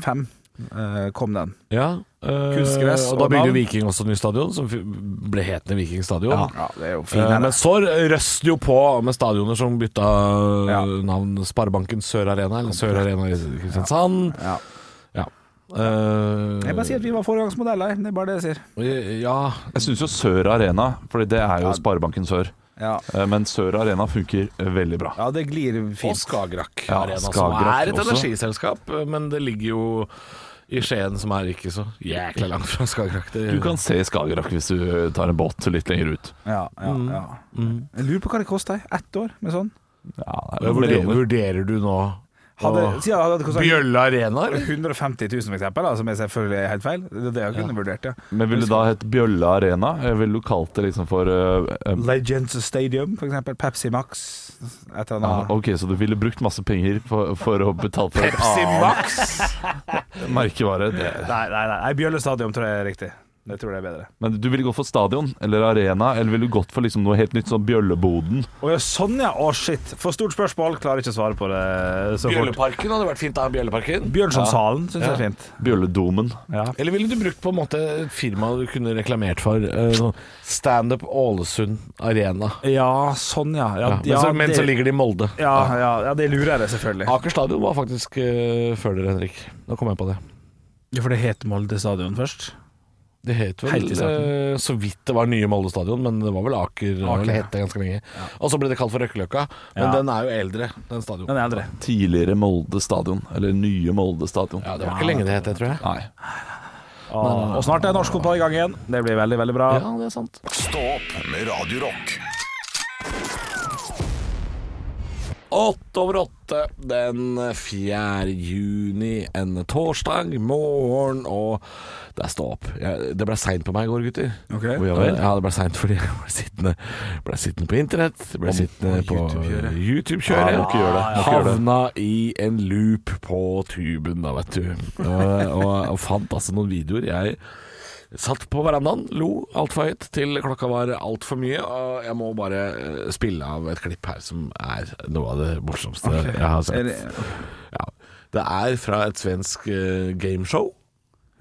[SPEAKER 4] 2004-2005 eh, kom den.
[SPEAKER 3] Ja, eh,
[SPEAKER 4] Kunstgress
[SPEAKER 3] og da
[SPEAKER 4] og
[SPEAKER 3] bygde
[SPEAKER 4] navn.
[SPEAKER 3] Viking også ny stadion, som f- ble hetende Viking stadion.
[SPEAKER 4] Ja, det er jo fin.
[SPEAKER 3] Eh,
[SPEAKER 4] den.
[SPEAKER 3] Men så røst det jo på med stadioner som bytta eh,
[SPEAKER 4] Ja.
[SPEAKER 3] navn Sparebanken Sør Arena, eller Sør Arena i Kristiansand.
[SPEAKER 4] ja.
[SPEAKER 3] Ja. Eh,
[SPEAKER 4] Jeg bare sier at vi var foregangsmodeller, det er bare det jeg sier.
[SPEAKER 3] Ja,
[SPEAKER 5] Jeg syns jo Sør Arena, for det er jo Sparebanken Sør.
[SPEAKER 4] Ja,
[SPEAKER 5] Eh, Men Sør Arena funker eh, veldig bra.
[SPEAKER 4] ja det glir
[SPEAKER 3] og
[SPEAKER 4] fint.
[SPEAKER 3] Skagerrak
[SPEAKER 5] Ja,
[SPEAKER 3] Arena, som
[SPEAKER 5] Skagerrak
[SPEAKER 3] er et
[SPEAKER 5] også.
[SPEAKER 3] energiselskap, men det ligger jo i Skien, som er ikke så jækla langt fra Skagerrak. Det,
[SPEAKER 5] Du kan se Skagerrak hvis du tar en båt litt lenger ut.
[SPEAKER 4] Ja, ja, ja. Jeg lurer på hva det koster, ett år med sånn.
[SPEAKER 5] Ja, det er
[SPEAKER 3] Ja,
[SPEAKER 5] noen
[SPEAKER 3] vurderer,
[SPEAKER 5] millioner.
[SPEAKER 3] vurderer du nå
[SPEAKER 4] Hadde,
[SPEAKER 3] å-
[SPEAKER 4] siden hadde det kostet
[SPEAKER 3] Bjølle Arena, eller?
[SPEAKER 4] 150 000 for eksempel, da, som er selvfølgelig helt feil. Det er det jeg kunne vurdert, ja.
[SPEAKER 5] Men ville det da hett Bjølle Arena? Eh, Ville du kalt det liksom for eh, eh,
[SPEAKER 4] Legends Stadium, for eksempel. Pepsi Max. Et eller
[SPEAKER 5] ja,
[SPEAKER 4] annet.
[SPEAKER 5] Ah, Ok, så du ville brukt masse penger for, for å betale for et
[SPEAKER 3] Pepsi
[SPEAKER 5] annet
[SPEAKER 3] Max!
[SPEAKER 5] merkevare? Det,
[SPEAKER 4] Nei, nei, nei. Bjølle Stadium tror jeg er riktig. Jeg tror det er bedre.
[SPEAKER 5] Men du ville gått for stadion eller arena, eller ville du gått for liksom noe helt nytt, sånn Bjølleboden?
[SPEAKER 4] Å ja, sånn ja! Å, shit. For stort spørsmål. Klarer ikke å svare på det så fort.
[SPEAKER 3] Bjølleparken hadde vært fint. da, Bjølleparken
[SPEAKER 4] Bjørnsonshallen syns jeg er fint.
[SPEAKER 5] Bjølledomen.
[SPEAKER 3] Eller ville du brukt på en måte et firma du kunne reklamert for? eh, sånn Standup Ålesund Arena.
[SPEAKER 4] Ja, sånn ja. Ja,
[SPEAKER 3] Ja, men, så, men
[SPEAKER 4] det,
[SPEAKER 3] så ligger det i Molde.
[SPEAKER 4] ja, ja, ja, det lurer jeg selvfølgelig.
[SPEAKER 3] Aker stadion var faktisk eh, før dere, Henrik. Nå kom jeg på det.
[SPEAKER 4] Ja, for det het Molde stadion først.
[SPEAKER 3] Det het vel
[SPEAKER 4] Helt i starten.
[SPEAKER 3] eh, så vidt det var nye Molde stadion, men det var vel Aker. det
[SPEAKER 4] Aker, ja.
[SPEAKER 3] het det ganske lenge. Og så ble det kalt for Røkkeløkka, men
[SPEAKER 4] Ja.
[SPEAKER 3] den er jo eldre, den stadion.
[SPEAKER 4] Den er eldre.
[SPEAKER 5] Tidligere Molde stadion, eller nye Molde stadion.
[SPEAKER 3] Ja, det var ikke lenge det het det, tror jeg.
[SPEAKER 5] Nei.
[SPEAKER 4] Og snart er norsk fotball i gang igjen. Det blir veldig, veldig bra.
[SPEAKER 3] Ja, det er sant.
[SPEAKER 1] Stå opp med Radio Rock.
[SPEAKER 3] Åtte over åtte den 4. juni, en torsdag morgen, og det er stå opp. Jeg, det ble seint på meg i går, gutter.
[SPEAKER 4] Ok.
[SPEAKER 5] Ja vel.
[SPEAKER 3] Ja, det ble seint fordi jeg ble sittende, ble sittende på internett, ble sittende på
[SPEAKER 4] YouTube-kjøret.
[SPEAKER 3] YouTube-kjøret.
[SPEAKER 5] Ja, må ikke gjøre det, må ikke gjøre det.
[SPEAKER 3] Havna i en loop på tuben, da, vet du. Og, og, og fant altså noen videoer. Jeg satt på verandaen, lo altfor høyt til klokka var altfor mye. Og jeg må bare eh, spille av et klipp her som er noe av det morsomste jeg har
[SPEAKER 4] Er
[SPEAKER 3] sett.
[SPEAKER 4] det-
[SPEAKER 3] Ja. Det er fra et svensk eh, gameshow.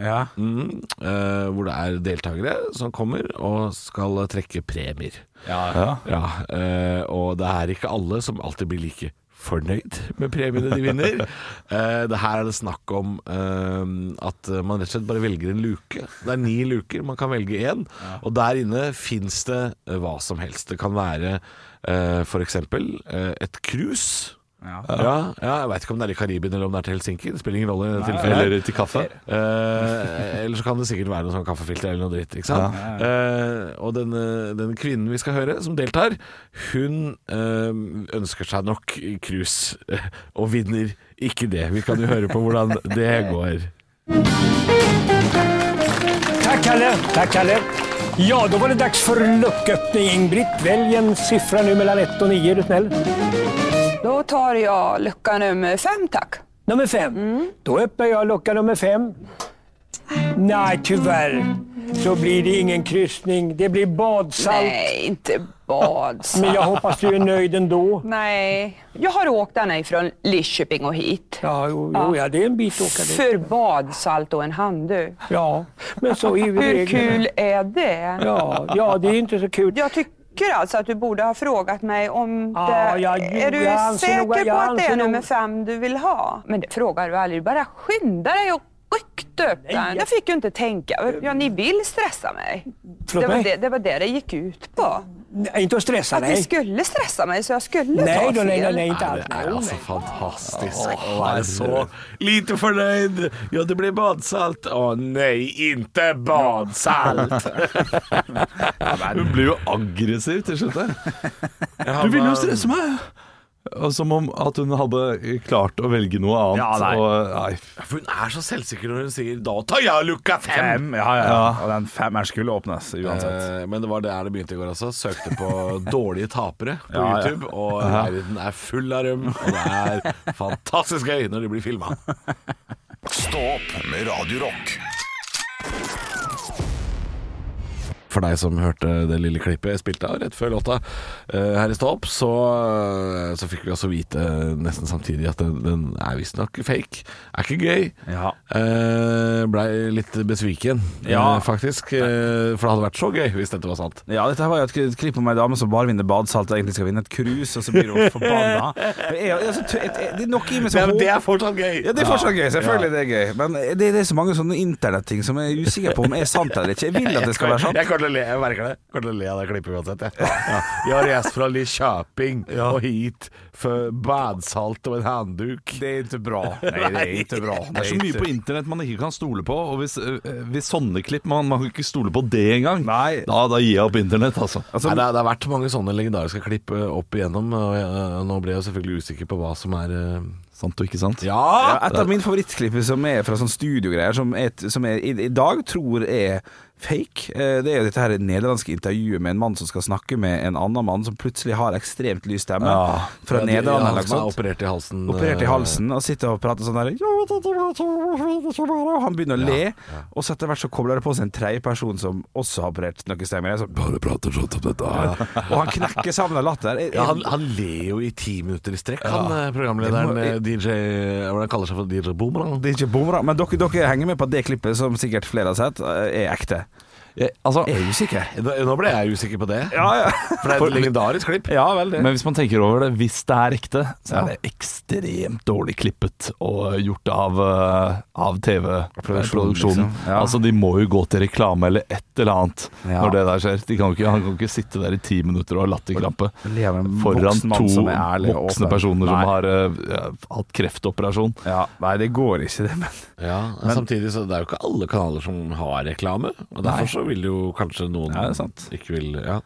[SPEAKER 4] Ja.
[SPEAKER 3] Mm, eh, hvor det er deltakere som kommer og skal trekke premier.
[SPEAKER 5] Ja.
[SPEAKER 3] Ja, eh, og det er ikke alle som alltid blir like fornøyd med premiene de vinner. Eh, det her er det snakk om eh, at man rett og slett bare velger en luke. Det er ni luker, man kan velge én. Og der inne fins det eh, hva som helst. Det kan være eh, f.eks. Eh, et cruise.
[SPEAKER 4] Ja.
[SPEAKER 3] Ja. Ja, jeg veit ikke om det er i Karibien eller om det er til Helsinki. Det spiller ingen rolle. i det tilfellet. her.
[SPEAKER 5] Eller til kaffe.
[SPEAKER 3] Eh, eller så kan det sikkert være noe sånn kaffefilter eller noe dritt. Ikke sant? Eh, og denne, denne kvinnen vi skal høre, som deltar, hun eh, ønsker seg nok cruise, eh, og vinner ikke det. Vi kan jo høre på hvordan det går.
[SPEAKER 6] Tack Kalle! Tack Kalle! Ja, då var det dags för lucköppning. Ingrid, välj en siffra nu mellan 1 och 9 är du snäll.
[SPEAKER 7] Då tar jag lucka nummer fem tack.
[SPEAKER 6] Nummer fem. Då öppnar jag lucka nummer fem. Nej, tyvärr så blir det ingen kryssning. Det blir badsalt.
[SPEAKER 7] Nej, inte badsalt.
[SPEAKER 6] Men jag hoppas du är nöjd ändå.
[SPEAKER 7] Nej, jag har åkt ända ifrån Lidköping och hit.
[SPEAKER 6] Ja, jo, jo, ja, det är en bit att åka dit.
[SPEAKER 7] För badsalt och en handduk.
[SPEAKER 6] Ja, men så är ju
[SPEAKER 7] Hur
[SPEAKER 6] reglerna.
[SPEAKER 7] kul är det?
[SPEAKER 6] Ja, ja, det är inte så kul.
[SPEAKER 7] Jag tycker alltså att du borde ha frågat mig om
[SPEAKER 6] Ja,
[SPEAKER 7] det.
[SPEAKER 6] jag
[SPEAKER 7] är
[SPEAKER 6] gjorde. Jag
[SPEAKER 7] du
[SPEAKER 6] anser
[SPEAKER 7] säker
[SPEAKER 6] nog- jag
[SPEAKER 7] på att det
[SPEAKER 6] anser
[SPEAKER 7] är
[SPEAKER 6] nog-
[SPEAKER 7] nummer fem du vill ha? Men det frågar du aldrig. Du bara skyndar dig och ryckte upp den. Jag fick ju inte tänka. Ja, ni vill stressa mig.
[SPEAKER 6] Förlåt
[SPEAKER 7] det, var
[SPEAKER 6] mig?
[SPEAKER 7] det, det var det det gick ut på.
[SPEAKER 6] Nej, Inte att stressa,
[SPEAKER 7] Att ni
[SPEAKER 6] nej.
[SPEAKER 7] skulle stressa mig så jag skulle
[SPEAKER 6] Nej,
[SPEAKER 7] ta
[SPEAKER 6] då,
[SPEAKER 7] fel.
[SPEAKER 6] nej, nej, nej, inte
[SPEAKER 3] Nei,
[SPEAKER 6] alls.
[SPEAKER 3] det er altså fantastisk å være så lite fornøyd. Ja, det blir badsalt. Å nei, ikke badsalt!
[SPEAKER 5] Hun blir jo aggressiv til slutt der. Du ville jo stresse meg! Og Som om at hun hadde klart å velge noe annet.
[SPEAKER 4] Ja, nei.
[SPEAKER 5] Og, nei.
[SPEAKER 3] For hun er så selvsikker når hun sier 'da tar jeg lukka fem'.
[SPEAKER 4] Fem, ja, ja, ja. Og den femmeren skulle åpnes uansett.
[SPEAKER 3] Eh, Men det var der det begynte i går også. Søkte på dårlige tapere på
[SPEAKER 4] Ja, ja.
[SPEAKER 3] YouTube. Og leiligheten er full av røm, og det er fantastisk gøy når de blir filma.
[SPEAKER 1] Stå opp med Radio Rock.
[SPEAKER 3] For deg som hørte det lille klippet jeg spilte av rett før låta eh, her i Stå opp, så, eh, så fikk vi også vite eh, nesten samtidig at den, den er visstnok fake. Er ikke gøy.
[SPEAKER 4] Ja.
[SPEAKER 3] Eh, Blei litt besviken,
[SPEAKER 4] Ja.
[SPEAKER 3] eh, faktisk. Eh, For det hadde vært så gøy hvis dette var sant.
[SPEAKER 4] Eh, Ja, dette her var jo et kli- klipp om ei dame som bare vinner badsalt og egentlig skal vinne et cruise, og så blir hun forbanna. Men jeg- jeg- så tø- jeg- jeg- Det er noe i meg som
[SPEAKER 3] er fortsatt gøy.
[SPEAKER 4] Ja, det er fortsatt gøy. Selvfølgelig det er gøy. Men det, det er så mange sånne internetting som jeg er usikker på om er sant eller ikke. Jeg vil at det skal være sant.
[SPEAKER 3] Jeg kommer til å le, jeg merker det. Jeg kommer til å le av det klippet uansett. Jeg, ja. jeg har reist fra Lidköping og hit for badsalt og en handduk.
[SPEAKER 4] Det er ikke bra. Nei, det er ikke bra.
[SPEAKER 5] Det er så mye på internett man ikke kan stole på, og hvis, øh, hvis sånne klipp Man, man kan ikke stole på det engang.
[SPEAKER 4] Nei.
[SPEAKER 5] Da, da gir jeg opp internett, altså.
[SPEAKER 3] Nei, det, har- det har vært mange sånne legendariske klipp eh, opp igjennom, og jeg, eh, nå ble jeg selvfølgelig usikker på hva som er eh,
[SPEAKER 5] Sant og ikke sant?
[SPEAKER 4] Ja, et av mine favorittklipp som er fra sånn studiogreier, som, er- som jeg i, i dag tror er fake. Eh, Det er jo dette her nederlandske intervjuet med en mann som skal snakke med en annen mann som plutselig har ekstremt lys stemme. fra
[SPEAKER 3] Ja, de-
[SPEAKER 4] Nederland
[SPEAKER 3] ja,
[SPEAKER 4] eller noe
[SPEAKER 3] som er
[SPEAKER 4] sånt.
[SPEAKER 3] liksom. Operert i halsen.
[SPEAKER 4] Operert i
[SPEAKER 3] eh,
[SPEAKER 4] halsen og sitter og prater sånn der Og han begynner å le, og så etter hvert så kobler det på seg en tredje person som også har operert noe stemmer. Jeg er sånn,
[SPEAKER 5] Bare prate sånn om dette her.
[SPEAKER 4] Og han knekker sammen av latter. Jeg-
[SPEAKER 3] Ja, han, han ler jo i ti minutter i strekk, han eh, programlederen eh, DJ Hva er det han kaller seg for? DJ Boomerang?
[SPEAKER 4] Det er ikke bomra, men dere, dere henger med på at det klippet som sikkert flere har sett, eh, er ekte.
[SPEAKER 5] Jeg, altså,
[SPEAKER 4] Jeg er usikker.
[SPEAKER 3] Nå nå ble jeg usikker på det.
[SPEAKER 4] Ja, ja.
[SPEAKER 3] For det er et legendarisk klipp.
[SPEAKER 4] ja vel, det.
[SPEAKER 5] men hvis man tenker over det, hvis det er ekte, så er det ekstremt dårlig klippet og gjort av, eh, av
[SPEAKER 4] Produksjonen,
[SPEAKER 5] TV-produksjonen.
[SPEAKER 4] liksom. Ja.
[SPEAKER 5] Altså, de må jo gå til reklame eller et eller annet
[SPEAKER 4] Ja.
[SPEAKER 5] når det der skjer. De kan jo ikke, han kan ikke sitte der i ti minutter og ha latterkrampe
[SPEAKER 4] Le av en
[SPEAKER 5] foran
[SPEAKER 4] voksen mann
[SPEAKER 5] to
[SPEAKER 4] som er ærlig og
[SPEAKER 5] voksne
[SPEAKER 4] åpen.
[SPEAKER 5] personer
[SPEAKER 4] Nei.
[SPEAKER 5] som har eh, ja, hatt kreftoperasjon.
[SPEAKER 4] Ja, nei, det går ikke, det. Men
[SPEAKER 3] Ja, men Samtidig så det er jo ikke alle kanaler som har reklame. Og Derfor så vil jo kanskje noen
[SPEAKER 4] Ja, det er sant.
[SPEAKER 3] ikke vil ja.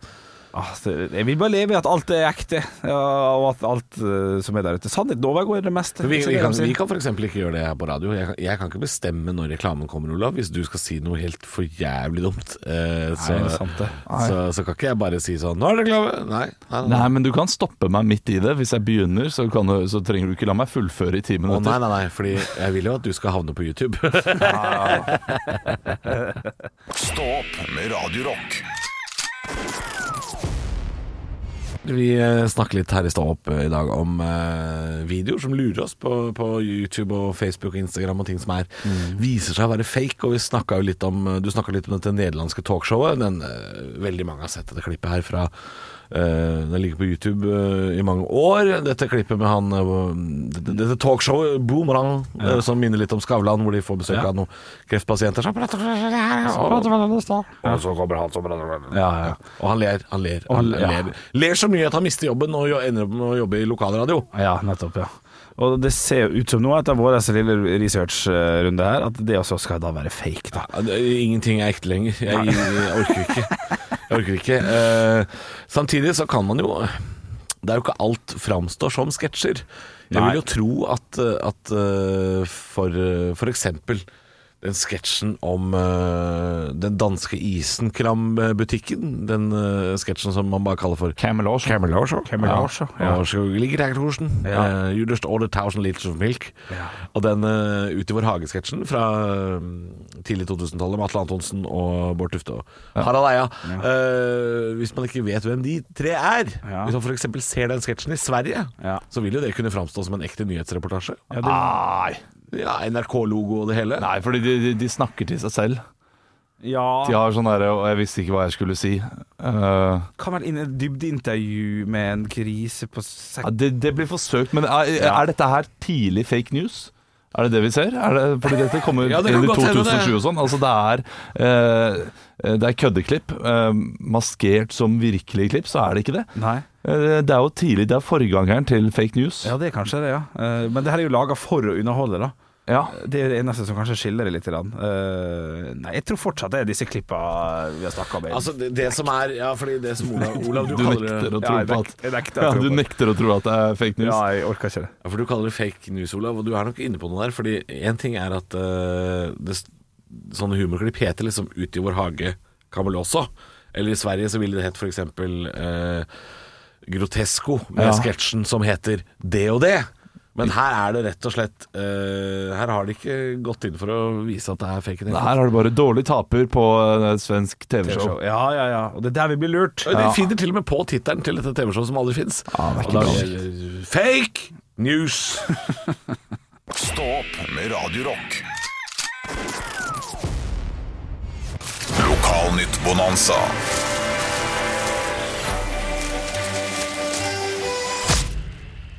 [SPEAKER 4] Ah, det- jeg vil bare leve i at alt er ekte, ja, og at alt eh, som er der ute. Sannheten overgår det meste.
[SPEAKER 3] For vi,
[SPEAKER 4] Så
[SPEAKER 3] vi
[SPEAKER 4] det
[SPEAKER 3] kan,
[SPEAKER 4] er-
[SPEAKER 3] vi kan f.eks. ikke gjøre det her på radio. Jeg kan, jeg kan ikke bestemme når reklamen kommer, Olav. Hvis du skal si noe helt for jævlig dumt, eh, så,
[SPEAKER 4] Nei, det er sant det.
[SPEAKER 3] så, så kan ikke jeg bare si sånn Nå er det reklame! Nei. nei, nei,
[SPEAKER 5] Nei, men du kan stoppe meg midt i det. Hvis jeg begynner, så, kan du, så trenger du ikke la meg fullføre i ti
[SPEAKER 3] Å nei,
[SPEAKER 5] minutter.
[SPEAKER 3] nei, nei, fordi jeg vil jo at du skal havne på YouTube.
[SPEAKER 1] Stå opp med Radio Rock.
[SPEAKER 3] Vi eh, snakker litt her i Stå opp eh, i dag om eh, videoer som lurer oss på, på YouTube og Facebook og Instagram og ting som er viser seg å være fake. Og vi snakket jo litt om eh, Du snakka litt om dette nederlandske talkshowet. Den, eh, veldig mange har sett dette klippet her fra eh, Det ligger på YouTube eh, i mange år. Dette klippet med han eh, Dette dette talkshowet, Boomerang, eh, som minner litt om Skavlan, hvor de får besøk av noen kreftpasienter. Så, og så kommer han sånn
[SPEAKER 4] Ja, ja.
[SPEAKER 3] og han ler, han ler.
[SPEAKER 4] han-
[SPEAKER 3] Han
[SPEAKER 4] ja.
[SPEAKER 3] ler. ler så mye at han mister jobben og jo- ender opp med å jobbe i lokalradio.
[SPEAKER 4] ja, nettopp, ja. Og det ser jo ut som nå, etter vår lille researchrunde her, at det også skal da være fake, da.
[SPEAKER 3] Ja, det- Ingenting er ekte lenger. Jeg, jeg orker ikke. Jeg orker ikke. Eh, samtidig så kan man jo Det er jo ikke alt framstår som sketsjer. Jeg vil jo tro at, eh, at eh, for, eh, for eksempel den sketsjen om eh, den danske Isenkram-butikken. Den eh, sketsjen som man bare kaller for
[SPEAKER 5] Camelot.
[SPEAKER 4] Camelage, ja.
[SPEAKER 3] Og så ligger der Thorsen. Eh, you just ordered 1000 liters of milk. Og den eh, Ut i vår hage-sketsjen fra eh, tidlig 2000-tallet med Atle Antonsen og Bård Tufte og Harald Eia. Eh, hvis man ikke vet hvem de tre er,
[SPEAKER 4] Ja.
[SPEAKER 3] hvis man f.eks. ser den sketsjen i Sverige,
[SPEAKER 4] Ja.
[SPEAKER 3] så vil jo det kunne framstå som en ekte nyhetsreportasje.
[SPEAKER 4] Ja, det,
[SPEAKER 5] Nei.
[SPEAKER 3] Ja, NRK-logo og det hele.
[SPEAKER 5] Nei, fordi de, de, de snakker til seg selv. De
[SPEAKER 4] ja.
[SPEAKER 5] har sånn derre Og jeg visste ikke hva jeg skulle si. Eh,
[SPEAKER 4] Kan være inn i et dybdeintervju med en grise på sek...
[SPEAKER 5] ja, det, det blir forsøkt, men er, er dette her tidlig fake news? Er det det vi ser? Er det, fordi dette kommer
[SPEAKER 3] Ja, det kan
[SPEAKER 5] inn i
[SPEAKER 3] godt hende det.
[SPEAKER 5] 2007 og sånn. Altså det er, eh, det er køddeklipp. eh, maskert som virkelige klipp, så er det ikke det.
[SPEAKER 4] Nei.
[SPEAKER 5] Eh, det er jo tidlig. Det er forgangeren til fake news.
[SPEAKER 4] Ja, det er kanskje det, ja. Eh, Men det her er jo laga for å underholde, da.
[SPEAKER 5] Ja.
[SPEAKER 4] Det er det eneste som kanskje skiller det litt. grann. Eh, nei, jeg tror fortsatt det er disse klippa vi har snakka om.
[SPEAKER 3] Altså, det, det som er Ja, fordi det som Olav, Olav du,
[SPEAKER 5] Du
[SPEAKER 3] kaller det
[SPEAKER 5] nekter å
[SPEAKER 4] Ja,
[SPEAKER 5] tro
[SPEAKER 4] jeg
[SPEAKER 5] på
[SPEAKER 4] nek-
[SPEAKER 5] at
[SPEAKER 4] jeg nekter å
[SPEAKER 5] ja,
[SPEAKER 4] tro
[SPEAKER 5] Du
[SPEAKER 4] på det.
[SPEAKER 5] nekter å tro at det er fake news.
[SPEAKER 4] Ja, jeg orker ikke det.
[SPEAKER 3] Ja, for du kaller det fake news, Olav, og du er nok inne på noe der. Fordi én ting er at eh, det, sånne humorklipp heter liksom 'Ut i vår hage Kabel også'. Eller i Sverige så ville det hett f.eks. Uh, Grotesco med
[SPEAKER 5] Ja.
[SPEAKER 3] sketsjen som heter 'Det og det'. Men her er det rett og slett eh, Her har de ikke gått inn for å vise at det er fake. i det hele tatt.
[SPEAKER 5] Her har du bare dårlig taper på eh, svensk TV-show.
[SPEAKER 4] Ja, ja, ja. Og det er der vi blir lurt.
[SPEAKER 3] Og De finner til og med på tittelen til dette TV-showet som aldri fins. Og da er det, fake news!
[SPEAKER 1] Stå opp med Radio Rock. Lokalnytt Bonanza.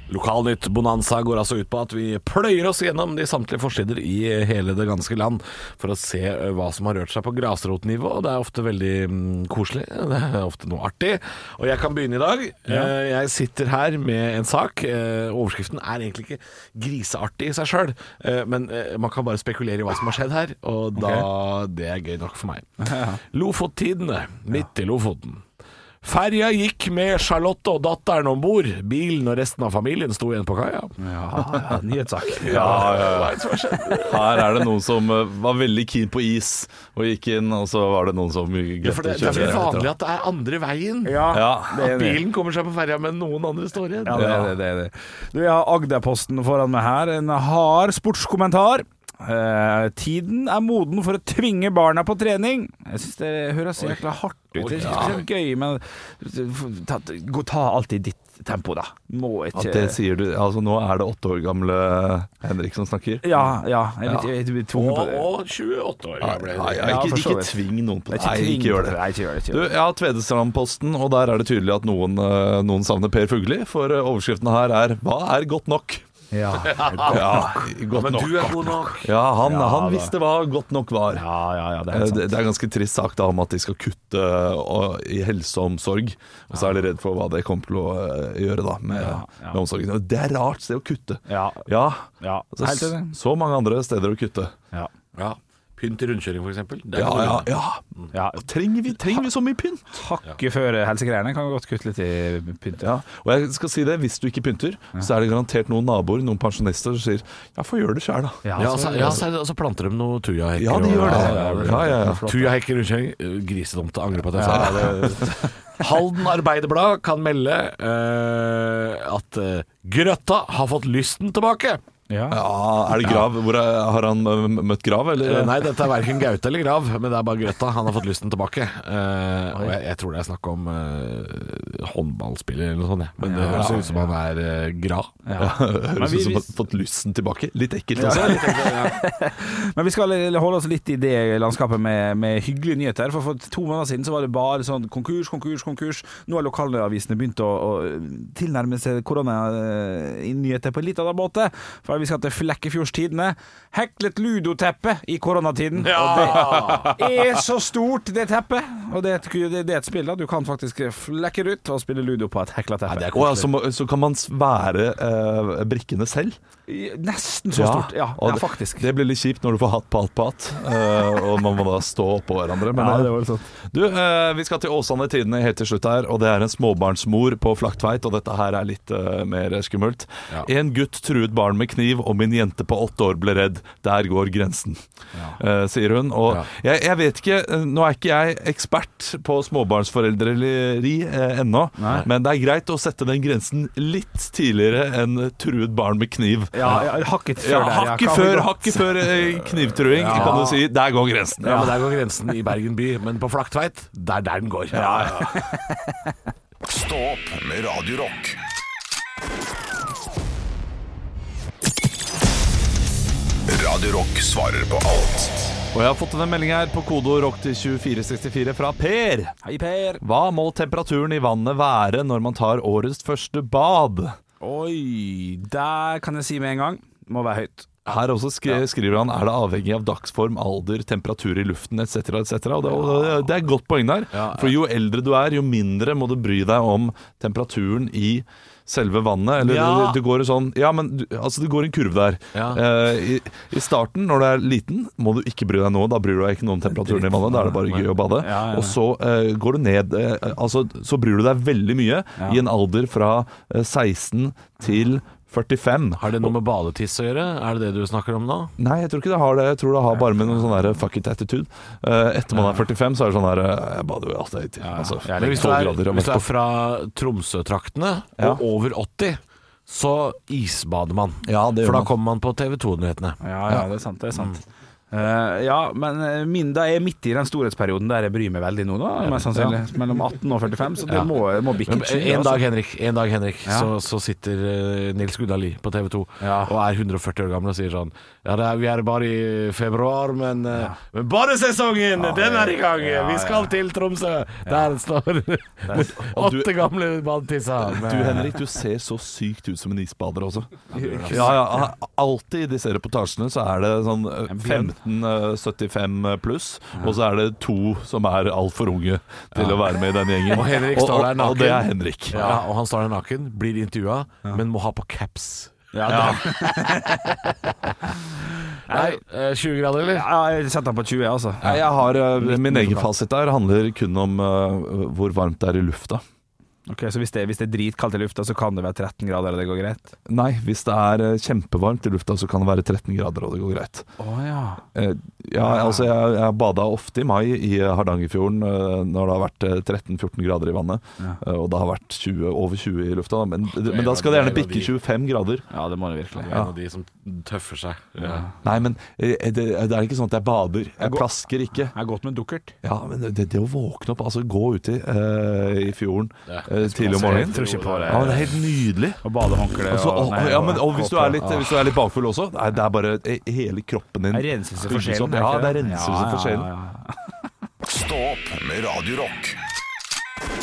[SPEAKER 3] Lokalnytt Bonanza går altså ut på at vi pløyer oss gjennom de samtlige forsider i hele det ganske land for å se eh, hva som har rørt seg på grasrotnivå. Det er ofte veldig mm, koselig, det er ofte noe artig. Og jeg kan begynne i dag. Eh, Jeg sitter her med en sak. Eh, Overskriften er egentlig ikke griseartig i seg sjøl, men eh, man kan bare spekulere i hva som har skjedd her, og da Det er gøy nok for meg. Lofottidene, midt i Lofoten. Ferja gikk med Charlotte og datteren om bord. Bilen og resten av familien sto igjen på kaia.
[SPEAKER 4] Ja, nyhetssak.
[SPEAKER 5] Ja, ja, ja. Her er det noen som eh, var veldig keen på is og gikk inn, og så var det noen som
[SPEAKER 3] Ja, for det, det
[SPEAKER 5] glemte å
[SPEAKER 3] er
[SPEAKER 5] kjøre.
[SPEAKER 3] vel vanlig at det er andre veien.
[SPEAKER 5] Ja.
[SPEAKER 4] det er
[SPEAKER 3] At bilen kommer seg på ferja, men noen andre står igjen.
[SPEAKER 4] Ja, det er det. det, er det. Du, jeg har Agderposten foran meg her. En hard sportskommentar. Eh, tiden er moden for å tvinge barna på trening. Jeg syns det høres så jækla hardt ut. Det er ikke så gøy, men ta, gå- ta alt i ditt tempo, da. Må ikke
[SPEAKER 5] At det sier du Altså, nå er det åtte år gamle Henrik som snakker.
[SPEAKER 4] Ja, ja. Jeg, vet- jeg, blir tvungen
[SPEAKER 3] Og,
[SPEAKER 4] på det.
[SPEAKER 3] og 28 år
[SPEAKER 5] Nei,
[SPEAKER 3] gamle.
[SPEAKER 5] nei,
[SPEAKER 4] Ja, for
[SPEAKER 5] ikke,
[SPEAKER 4] så
[SPEAKER 5] ikke
[SPEAKER 4] vidt.
[SPEAKER 5] tving noen på
[SPEAKER 4] Jeg
[SPEAKER 5] det.
[SPEAKER 4] er
[SPEAKER 5] Nei,
[SPEAKER 4] tvungen
[SPEAKER 5] ikke
[SPEAKER 4] på
[SPEAKER 5] gjør det.
[SPEAKER 4] Nei, ikke gjør det. Ikke
[SPEAKER 5] Du,
[SPEAKER 4] gjør det.
[SPEAKER 5] jeg har Tvedestrandposten, og der er det tydelig at noen, eh, noen savner Per Fugli. For eh, overskriften her er 'Hva er godt nok?'
[SPEAKER 4] Ja.
[SPEAKER 5] Ja, godt
[SPEAKER 3] Men
[SPEAKER 5] nok.
[SPEAKER 3] du er god nok.
[SPEAKER 5] Ja, han,
[SPEAKER 4] Ja, da.
[SPEAKER 5] han visste hva godt nok var.
[SPEAKER 4] ja, ja, ja. Det er
[SPEAKER 5] Eh,
[SPEAKER 4] helt sant.
[SPEAKER 5] Det, det er en ganske trist sak da om at de skal kutte og, i helse og omsorg. Og så er de redd for hva det kommer til å eh, gjøre da med,
[SPEAKER 4] Ja, ja.
[SPEAKER 5] med omsorgen. Og Det er rart sted å kutte.
[SPEAKER 4] Ja. Ja,
[SPEAKER 5] Altså,
[SPEAKER 4] helt
[SPEAKER 5] s-
[SPEAKER 4] enig.
[SPEAKER 5] så mange andre steder å kutte.
[SPEAKER 4] Ja.
[SPEAKER 3] Ja. Pynt i rundkjøring, for eksempel. Det er
[SPEAKER 5] Ja,
[SPEAKER 3] ikke
[SPEAKER 5] ja,
[SPEAKER 3] noe.
[SPEAKER 5] ja.
[SPEAKER 4] ja.
[SPEAKER 5] Og Trenger vi, trenger vi så mye pynt?
[SPEAKER 4] Hakket før helsegreiene kan godt kutte litt i pyntet.
[SPEAKER 5] Ja, og jeg skal si det, hvis du ikke pynter, så er det garantert noen naboer, noen pensjonister, som sier ja, få gjøre det sjæl, da.
[SPEAKER 4] Ja, altså,
[SPEAKER 3] Ja,
[SPEAKER 4] så-
[SPEAKER 3] så, ja, så, er det- så planter de noe tujahekker.
[SPEAKER 5] Ja, de
[SPEAKER 3] og-
[SPEAKER 5] gjør det. Ja, ja, ja.
[SPEAKER 3] Tujahekker rundkjøring. Eh, Grisedumt å angre på at jeg sa det. Halden Arbeiderblad kan melde eh, at eh, Grøtta har fått lysten tilbake.
[SPEAKER 4] Ja.
[SPEAKER 5] Ja, er det grav? Hvor er, har han eh, møtt grav,
[SPEAKER 3] Eh,
[SPEAKER 5] eller?
[SPEAKER 3] Nei, dette er verken Gaute eller Grav, men det er bare Grøtta. Han har fått lysten tilbake. Eh, og jeg, jeg tror det er snakk om eh, håndballspiller eller noe sånt. jeg. Men det høres ut som han er eh, Gra.
[SPEAKER 4] vi-
[SPEAKER 5] Høres ut som
[SPEAKER 4] vi-
[SPEAKER 5] han har fått lysten tilbake. Litt ekkelt altså. også.
[SPEAKER 4] Men vi skal holde oss litt i det landskapet med, med hyggelige nyheter. For, for to måneder siden så var det bare sånn konkurs, konkurs, konkurs. Nå har lokalavisene begynt å, å tilnærme seg koronanyheter på en litt annen måte. For vi skal til Flekkefjordstidene. Heklet ludoteppe i koronatiden. Og det er så stort, det teppet. Og det, er et- det, det er et spill, da. Du kan faktisk flekke det ut og spille ludo på et hekla teppe.
[SPEAKER 5] Å, ja, så, altså, må- så kan man s- være eh, brikkene selv?
[SPEAKER 4] Nesten så stort. Ja,
[SPEAKER 5] og
[SPEAKER 4] ja
[SPEAKER 5] det-
[SPEAKER 4] faktisk.
[SPEAKER 5] Det blir litt kjipt når du får hatt på hatt på hatt, eh, og man må da stå oppå hverandre. Men, eh,
[SPEAKER 4] var sånn.
[SPEAKER 5] du, eh, vi skal til Åsane Tidene helt til slutt her, og det er en småbarnsmor på Flaktveit, og dette her er litt eh, mer skummelt. En gutt truet barn med kniv, og min jente på åtte år ble redd. Der går grensen, eh, sier hun. Og jeg, jeg vet ikke, eh, nå er ikke jeg ekspert på småbarnsforeldreleri eh, ennå, men det er greit å sette den grensen litt tidligere enn truet barn med kniv.
[SPEAKER 4] Ja, ja, hakket før
[SPEAKER 5] Ja,
[SPEAKER 4] der. ja.
[SPEAKER 5] hakket
[SPEAKER 4] Kan vi
[SPEAKER 5] før,
[SPEAKER 4] godt-
[SPEAKER 5] hakket før eh, knivtruing, kan du si. Der går grensen.
[SPEAKER 3] Ja, men Der går grensen i Bergen by, men på Flaktveit, det er der den går.
[SPEAKER 1] Stå opp med Radio Rock. Radio Rock svarer på alt.
[SPEAKER 5] Og jeg har fått en melding her på kodeord rock til 2464 fra Per.
[SPEAKER 4] Hei, Per.
[SPEAKER 5] Hva må temperaturen i vannet være når man tar årets første bad?
[SPEAKER 4] Oi, der kan jeg si med en gang Må være høyt
[SPEAKER 5] Her også skri skriver han er det avhengig av dagsform, alder, temperatur i luften etc. etc. Og det, og det- det er et godt poeng der. For jo eldre du er, jo mindre må du bry deg om temperaturen i selve vannet. Eller
[SPEAKER 3] Ja.
[SPEAKER 5] det, det går en sånn Ja, men du, altså, det går en kurve der.
[SPEAKER 3] Ja.
[SPEAKER 5] Eh, i, I starten, når du er liten, må du ikke bry deg nå. Da bryr du deg ikke noe om temperaturen i vannet. Da er det bare gøy å bade.
[SPEAKER 4] Ja, ja, ja.
[SPEAKER 5] Og så eh, går du ned eh, Altså, så bryr du deg veldig mye i en alder fra eh, 16 til 45.
[SPEAKER 3] Har det noe med badetiss å gjøre? Er det det du snakker om nå?
[SPEAKER 5] Nei, jeg tror ikke det har det. Jeg tror det har bare med noen sånn der fuck it attitude. Eh, etter man er 45, så er det sånn der eh, Jeg bader jo alltid i tid. Altså,
[SPEAKER 3] Men hvis du
[SPEAKER 5] 12
[SPEAKER 3] er,
[SPEAKER 5] grader og
[SPEAKER 3] hvis du
[SPEAKER 5] mest
[SPEAKER 3] er fra Tromsø-traktene
[SPEAKER 5] Ja.
[SPEAKER 3] og over 80, så isbader man.
[SPEAKER 5] på- Ja, det
[SPEAKER 3] For
[SPEAKER 5] gjør
[SPEAKER 3] da
[SPEAKER 5] man.
[SPEAKER 3] kommer man på TV 2-nyhetene.
[SPEAKER 4] Ja, ja, det er sant, det er sant Eh, ja, men eh, min da er midt i den storhetsperioden Der jeg bryr meg veldig nå da mest sannsynlig Mellom 18 og 45 Så det
[SPEAKER 3] Ja.
[SPEAKER 4] må, må bikke
[SPEAKER 3] Men eh,
[SPEAKER 4] et sju,
[SPEAKER 3] En dag,
[SPEAKER 4] altså.
[SPEAKER 3] Henrik, en dag, Henrik
[SPEAKER 4] Ja.
[SPEAKER 3] så, så sitter eh, Nils Gunnar Lie på TV 2
[SPEAKER 4] Ja.
[SPEAKER 3] og er 140 år gammel og sier sånn Ja, det er, vi er bare i februar, men, eh, men badesesongen, den er i gang! vi skal til Tromsø! Der står
[SPEAKER 5] Og du-
[SPEAKER 3] åtte gamle badetissa. med-
[SPEAKER 5] Du Henrik, du ser så sykt ut som en isbader også. Ja, ja, Alltid i disse reportasjene så er det sånn eh, 15, eh, 75 pluss, og så er det to som er altfor unge til å være med i den gjengen.
[SPEAKER 3] Og Henrik står der
[SPEAKER 5] Og, og det
[SPEAKER 3] naken.
[SPEAKER 5] er Henrik.
[SPEAKER 3] ja, og han står der naken, blir intervjua, men må ha på caps.
[SPEAKER 4] ja, det-
[SPEAKER 3] Nei, eh, 20 grader, eller?
[SPEAKER 4] Ja, jeg setter den på 20, altså.
[SPEAKER 5] Nei, jeg har eh,
[SPEAKER 4] Litt
[SPEAKER 5] Min egen
[SPEAKER 4] uforklart.
[SPEAKER 5] fasit der handler kun om eh, hvor varmt det er i lufta.
[SPEAKER 4] Ok, Så hvis det, hvis det er dritkaldt i lufta, så kan det være 13 grader, og det går greit?
[SPEAKER 5] Nei, hvis det er eh, kjempevarmt i lufta, så kan det være 13 grader, og det går greit.
[SPEAKER 4] Å ja.
[SPEAKER 5] Eh, ja, altså jeg, jeg bada ofte i mai i Hardangerfjorden eh, når det har vært eh, 13-14 grader i vannet. eh, og det har vært 20, over 20 i lufta. da, Men, men da skal det gjerne bikke 25 grader.
[SPEAKER 4] Ja, det må det virkelig.
[SPEAKER 3] En av de som tøffer seg. Ja.
[SPEAKER 5] Nei, men eh, det, det er ikke sånn at jeg bader. Jeg plasker ikke.
[SPEAKER 4] Jeg har gått med dukkert.
[SPEAKER 5] Ja, men det, det å våkne opp, altså gå uti eh, i fjorden eh, tidlig om morgenen
[SPEAKER 4] tror ikke på det.
[SPEAKER 5] Ja, det er helt nydelig.
[SPEAKER 4] Og badehåndkle
[SPEAKER 5] Altså, og,
[SPEAKER 4] nei,
[SPEAKER 5] ja, men, og hvis, du er
[SPEAKER 4] kåpe.
[SPEAKER 5] litt, hvis du er litt bakfull også, nei, det er bare eh, hele kroppen din
[SPEAKER 4] Det er renselse for
[SPEAKER 5] bygges
[SPEAKER 4] sjelen.
[SPEAKER 5] opp.
[SPEAKER 4] er
[SPEAKER 5] Ja,
[SPEAKER 4] ikke
[SPEAKER 5] det er renselse
[SPEAKER 4] Ja, ja,
[SPEAKER 5] for sjelen.
[SPEAKER 4] ja, ja.
[SPEAKER 1] Stå opp med Radio Rock.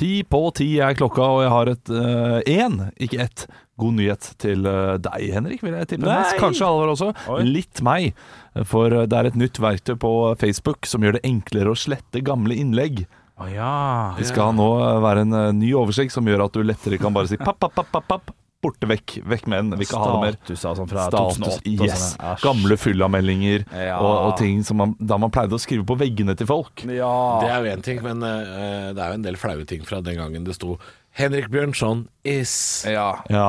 [SPEAKER 5] Ti på ti er klokka, og jeg har et eh, én, ikke ett, god nyhet til eh, deg, Henrik, vil jeg tippe. Mens. Kanskje Halvor også.
[SPEAKER 4] Oi.
[SPEAKER 5] Litt meg. For eh, det er et nytt verktøy på Facebook som gjør det enklere å slette gamle innlegg.
[SPEAKER 4] Å ja.
[SPEAKER 5] Det skal nå eh, være en eh, ny oversikt som gjør at du lettere kan bare si papp, papp, papp, papp, papp. Borte vekk. Vekk med den. Vi kan ha det mer.
[SPEAKER 4] Statuser og sånn fra
[SPEAKER 5] Status,
[SPEAKER 4] 2008 og
[SPEAKER 5] yes.
[SPEAKER 4] sånne. Æsj.
[SPEAKER 5] Gamle fyllameldinger
[SPEAKER 4] Ja.
[SPEAKER 5] og, og ting som man, da man pleide å skrive på veggene til folk.
[SPEAKER 4] Ja.
[SPEAKER 3] Det er jo én ting, men eh, det er jo en del flaue ting fra den gangen det sto 'Henrik Bjørnson is
[SPEAKER 4] ja.
[SPEAKER 5] Ja.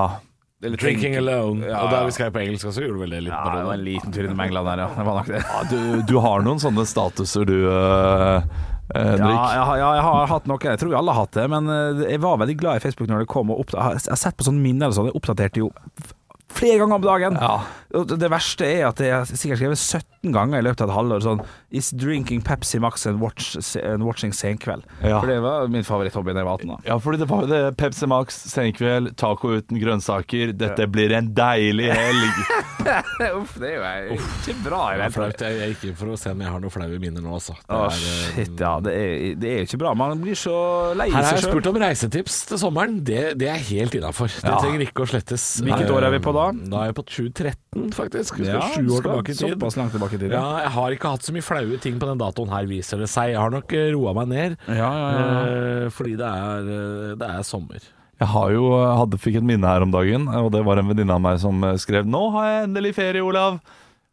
[SPEAKER 3] drinking alone'.
[SPEAKER 4] Ja,
[SPEAKER 3] Og da
[SPEAKER 4] ja.
[SPEAKER 3] vi skrev på engelsk også, gjorde du vel det litt.
[SPEAKER 4] Ja,
[SPEAKER 3] på
[SPEAKER 4] det var en
[SPEAKER 3] det.
[SPEAKER 4] liten tur innom England der, ja. Det var nok det.
[SPEAKER 5] Ja, du, du har noen sånne statuser du, eh, Henrik.
[SPEAKER 4] Ja, jeg, har- ja, jeg har hatt noe. Jeg tror vi alle har hatt det, men eh, jeg var veldig glad i Facebook når det kom. Og oppda- jeg har- jeg har sett på sånne minner og sånn. Jeg oppdaterte jo f- flere ganger om dagen.
[SPEAKER 5] Ja.
[SPEAKER 4] Og Det verste er at jeg har sikkert skrevet 17 ganger i løpet av et halvår sånn Is drinking Pepsi Max and, watch, and watching senkveld.
[SPEAKER 5] Ja.
[SPEAKER 4] For det var min favoritthobby da jeg var 18. da.
[SPEAKER 5] Ja, fordi det var jo det. Pepsi Max, senkveld, taco uten grønnsaker. Dette blir en deilig helg.
[SPEAKER 4] Uff, det er jo jeg- ikke bra i
[SPEAKER 3] Det er
[SPEAKER 4] det hele tatt.
[SPEAKER 3] flaut. Jeg, jeg gikk inn for å se om jeg har noen flaue minner nå, altså. Det
[SPEAKER 4] Å,
[SPEAKER 3] er, eh,
[SPEAKER 4] shit, ja. Det er, det er jo ikke bra. Man blir så lei
[SPEAKER 3] Her har
[SPEAKER 4] seg
[SPEAKER 3] jeg
[SPEAKER 4] sjøl.
[SPEAKER 3] spurt om reisetips til sommeren. Det, det er helt innafor. Det trenger ikke å slettes.
[SPEAKER 4] Hvilket år er vi på da?
[SPEAKER 3] Da er jeg på 2013, faktisk. Vi skal
[SPEAKER 4] Ja,
[SPEAKER 3] sju år
[SPEAKER 4] skal
[SPEAKER 3] tilbake i tid.
[SPEAKER 4] såpass langt tilbake i tid, ja.
[SPEAKER 3] Ja, jeg har ikke hatt så mye flaue ting på den datoen her, viser det seg. Jeg har nok eh, roa meg ned,
[SPEAKER 4] ja, ja.
[SPEAKER 3] eh, fordi det er, eh, det er sommer.
[SPEAKER 5] Jeg har jo, eh, hadde, fikk et minne her om dagen, eh, og det var en venninne av meg som eh, skrev 'Nå har jeg endelig ferie, Olav'.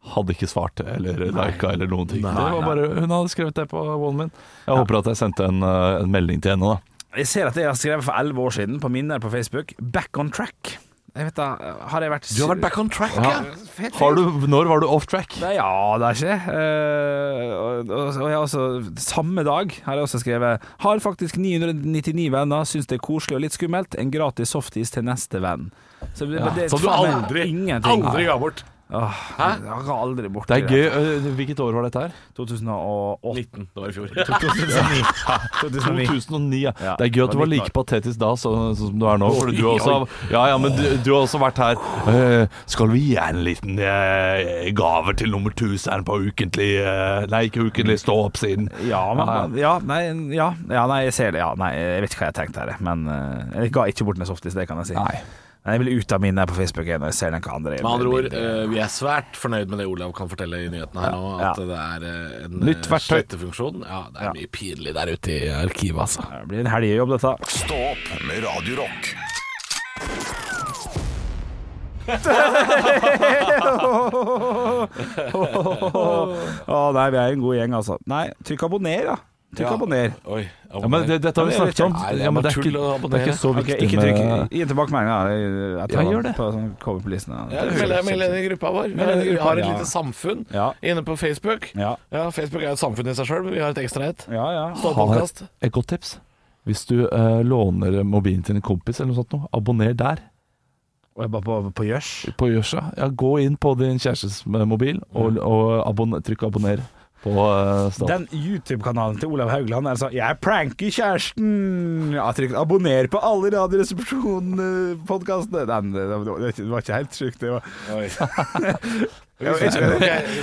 [SPEAKER 5] Hadde ikke svart eh, eller lika eller noen ting. det var bare, hun hadde skrevet det på wallen min. Jeg håper at jeg sendte en, eh, en melding til henne, da.
[SPEAKER 3] Eh.
[SPEAKER 4] Jeg ser at jeg har skrevet for 11 år siden på minner på Facebook 'Back on track'. Jeg vet da, har jeg vært
[SPEAKER 3] Du har vært back on track, ja.
[SPEAKER 5] Har du, når var du off track?
[SPEAKER 4] Nei, ja, det er ikke det. Eh, og, og, og jeg har også, samme dag har jeg også skrevet Har faktisk 999 venner, syns det er koselig og litt skummelt. En gratis softis til neste venn. Så det, det er
[SPEAKER 3] Som du
[SPEAKER 4] faen meg
[SPEAKER 3] aldri,
[SPEAKER 4] ingenting.
[SPEAKER 3] aldri ga bort.
[SPEAKER 4] Åh, Jeg har aldri borti
[SPEAKER 5] Det er gøy. eh, Hvilket år var dette her?
[SPEAKER 4] 2008.
[SPEAKER 3] 19, det var i fjor.
[SPEAKER 4] 2009. 2009.
[SPEAKER 5] 2009, ja.
[SPEAKER 4] Ja,
[SPEAKER 5] Det er gøy at
[SPEAKER 4] det var
[SPEAKER 5] du var
[SPEAKER 4] 19
[SPEAKER 5] like patetisk da så- sånn som du er nå. Fordi du også har, ja, ja, men du, du har også vært her. Eh, skal vi gi en liten eh, gave til nummer 1000 på ukentlig eh, Nei, ikke ukentlig, stå opp siden.
[SPEAKER 4] Ja,
[SPEAKER 5] Ja,
[SPEAKER 4] men, ja, nei, ja, ja, nei, jeg ser det. Ja, nei, jeg vet ikke hva jeg tenkte her, men eh, jeg ga ikke bort en softis, det kan jeg si.
[SPEAKER 5] Nei.
[SPEAKER 4] Men jeg blir ut av minnet på Facebook igjen når jeg ser den hva andre
[SPEAKER 3] Med andre ord, eh, vi er svært fornøyd med det Olav kan fortelle i nyhetene her nå, at det er eh, en
[SPEAKER 5] Nytt
[SPEAKER 3] eh,
[SPEAKER 5] verktøy.
[SPEAKER 3] slettefunksjon. Ja, det er mye pinlig der ute i arkivet, altså.
[SPEAKER 4] Det blir en helgejobb, dette.
[SPEAKER 1] Stå opp med Radio Rock.
[SPEAKER 4] Å nei, vi er en god gjeng, altså. Nei, trykk abonner, da. Trykk abonner.
[SPEAKER 3] Oi,
[SPEAKER 5] Ja, men det, dette har vi
[SPEAKER 4] Ja, det er
[SPEAKER 5] snakket om.
[SPEAKER 3] kjekt.
[SPEAKER 5] Ja, men det, er
[SPEAKER 3] Nei, det er bare
[SPEAKER 5] ikke,
[SPEAKER 3] tull å
[SPEAKER 5] det er ikke så
[SPEAKER 4] Ok,
[SPEAKER 5] viktig
[SPEAKER 4] ikke trykk.
[SPEAKER 5] med
[SPEAKER 4] Gi en tilbakemelding, da. Jeg- Jeg tar
[SPEAKER 5] Ja, gjør
[SPEAKER 4] den
[SPEAKER 5] det.
[SPEAKER 4] På, sånn, kommer på listen, da.
[SPEAKER 3] Ja, meld deg meld deg inn i gruppa vår. Vi
[SPEAKER 4] deg
[SPEAKER 3] har,
[SPEAKER 4] inn i
[SPEAKER 3] vi
[SPEAKER 4] gruppa,
[SPEAKER 3] har et
[SPEAKER 4] ja.
[SPEAKER 3] lite samfunn
[SPEAKER 4] Ja.
[SPEAKER 3] inne på Facebook.
[SPEAKER 4] Ja.
[SPEAKER 3] Facebook er jo et samfunn i seg sjøl, men vi har et ekstra et.
[SPEAKER 4] Ja, ja.
[SPEAKER 3] Stå
[SPEAKER 5] Ha
[SPEAKER 3] podcast.
[SPEAKER 5] Et godt tips. Hvis du eh, låner mobilen til en kompis, eller noe sånt, noe, abonner der.
[SPEAKER 4] Og jeg bare på, på gjørs.
[SPEAKER 5] På Jørsa. Ja, gå inn på din kjærestes eh, mobil, og, og abonner, trykk 'abonner' på eh, Stå opp.
[SPEAKER 4] Den YouTube-kanalen til Olav Haugland er sånn Jeg pranker kjæresten! Ja, trykk abonner på alle Radioresepsjonen-podkastene. Den det var- det var ikke helt sjukt, det var.
[SPEAKER 5] Jeg,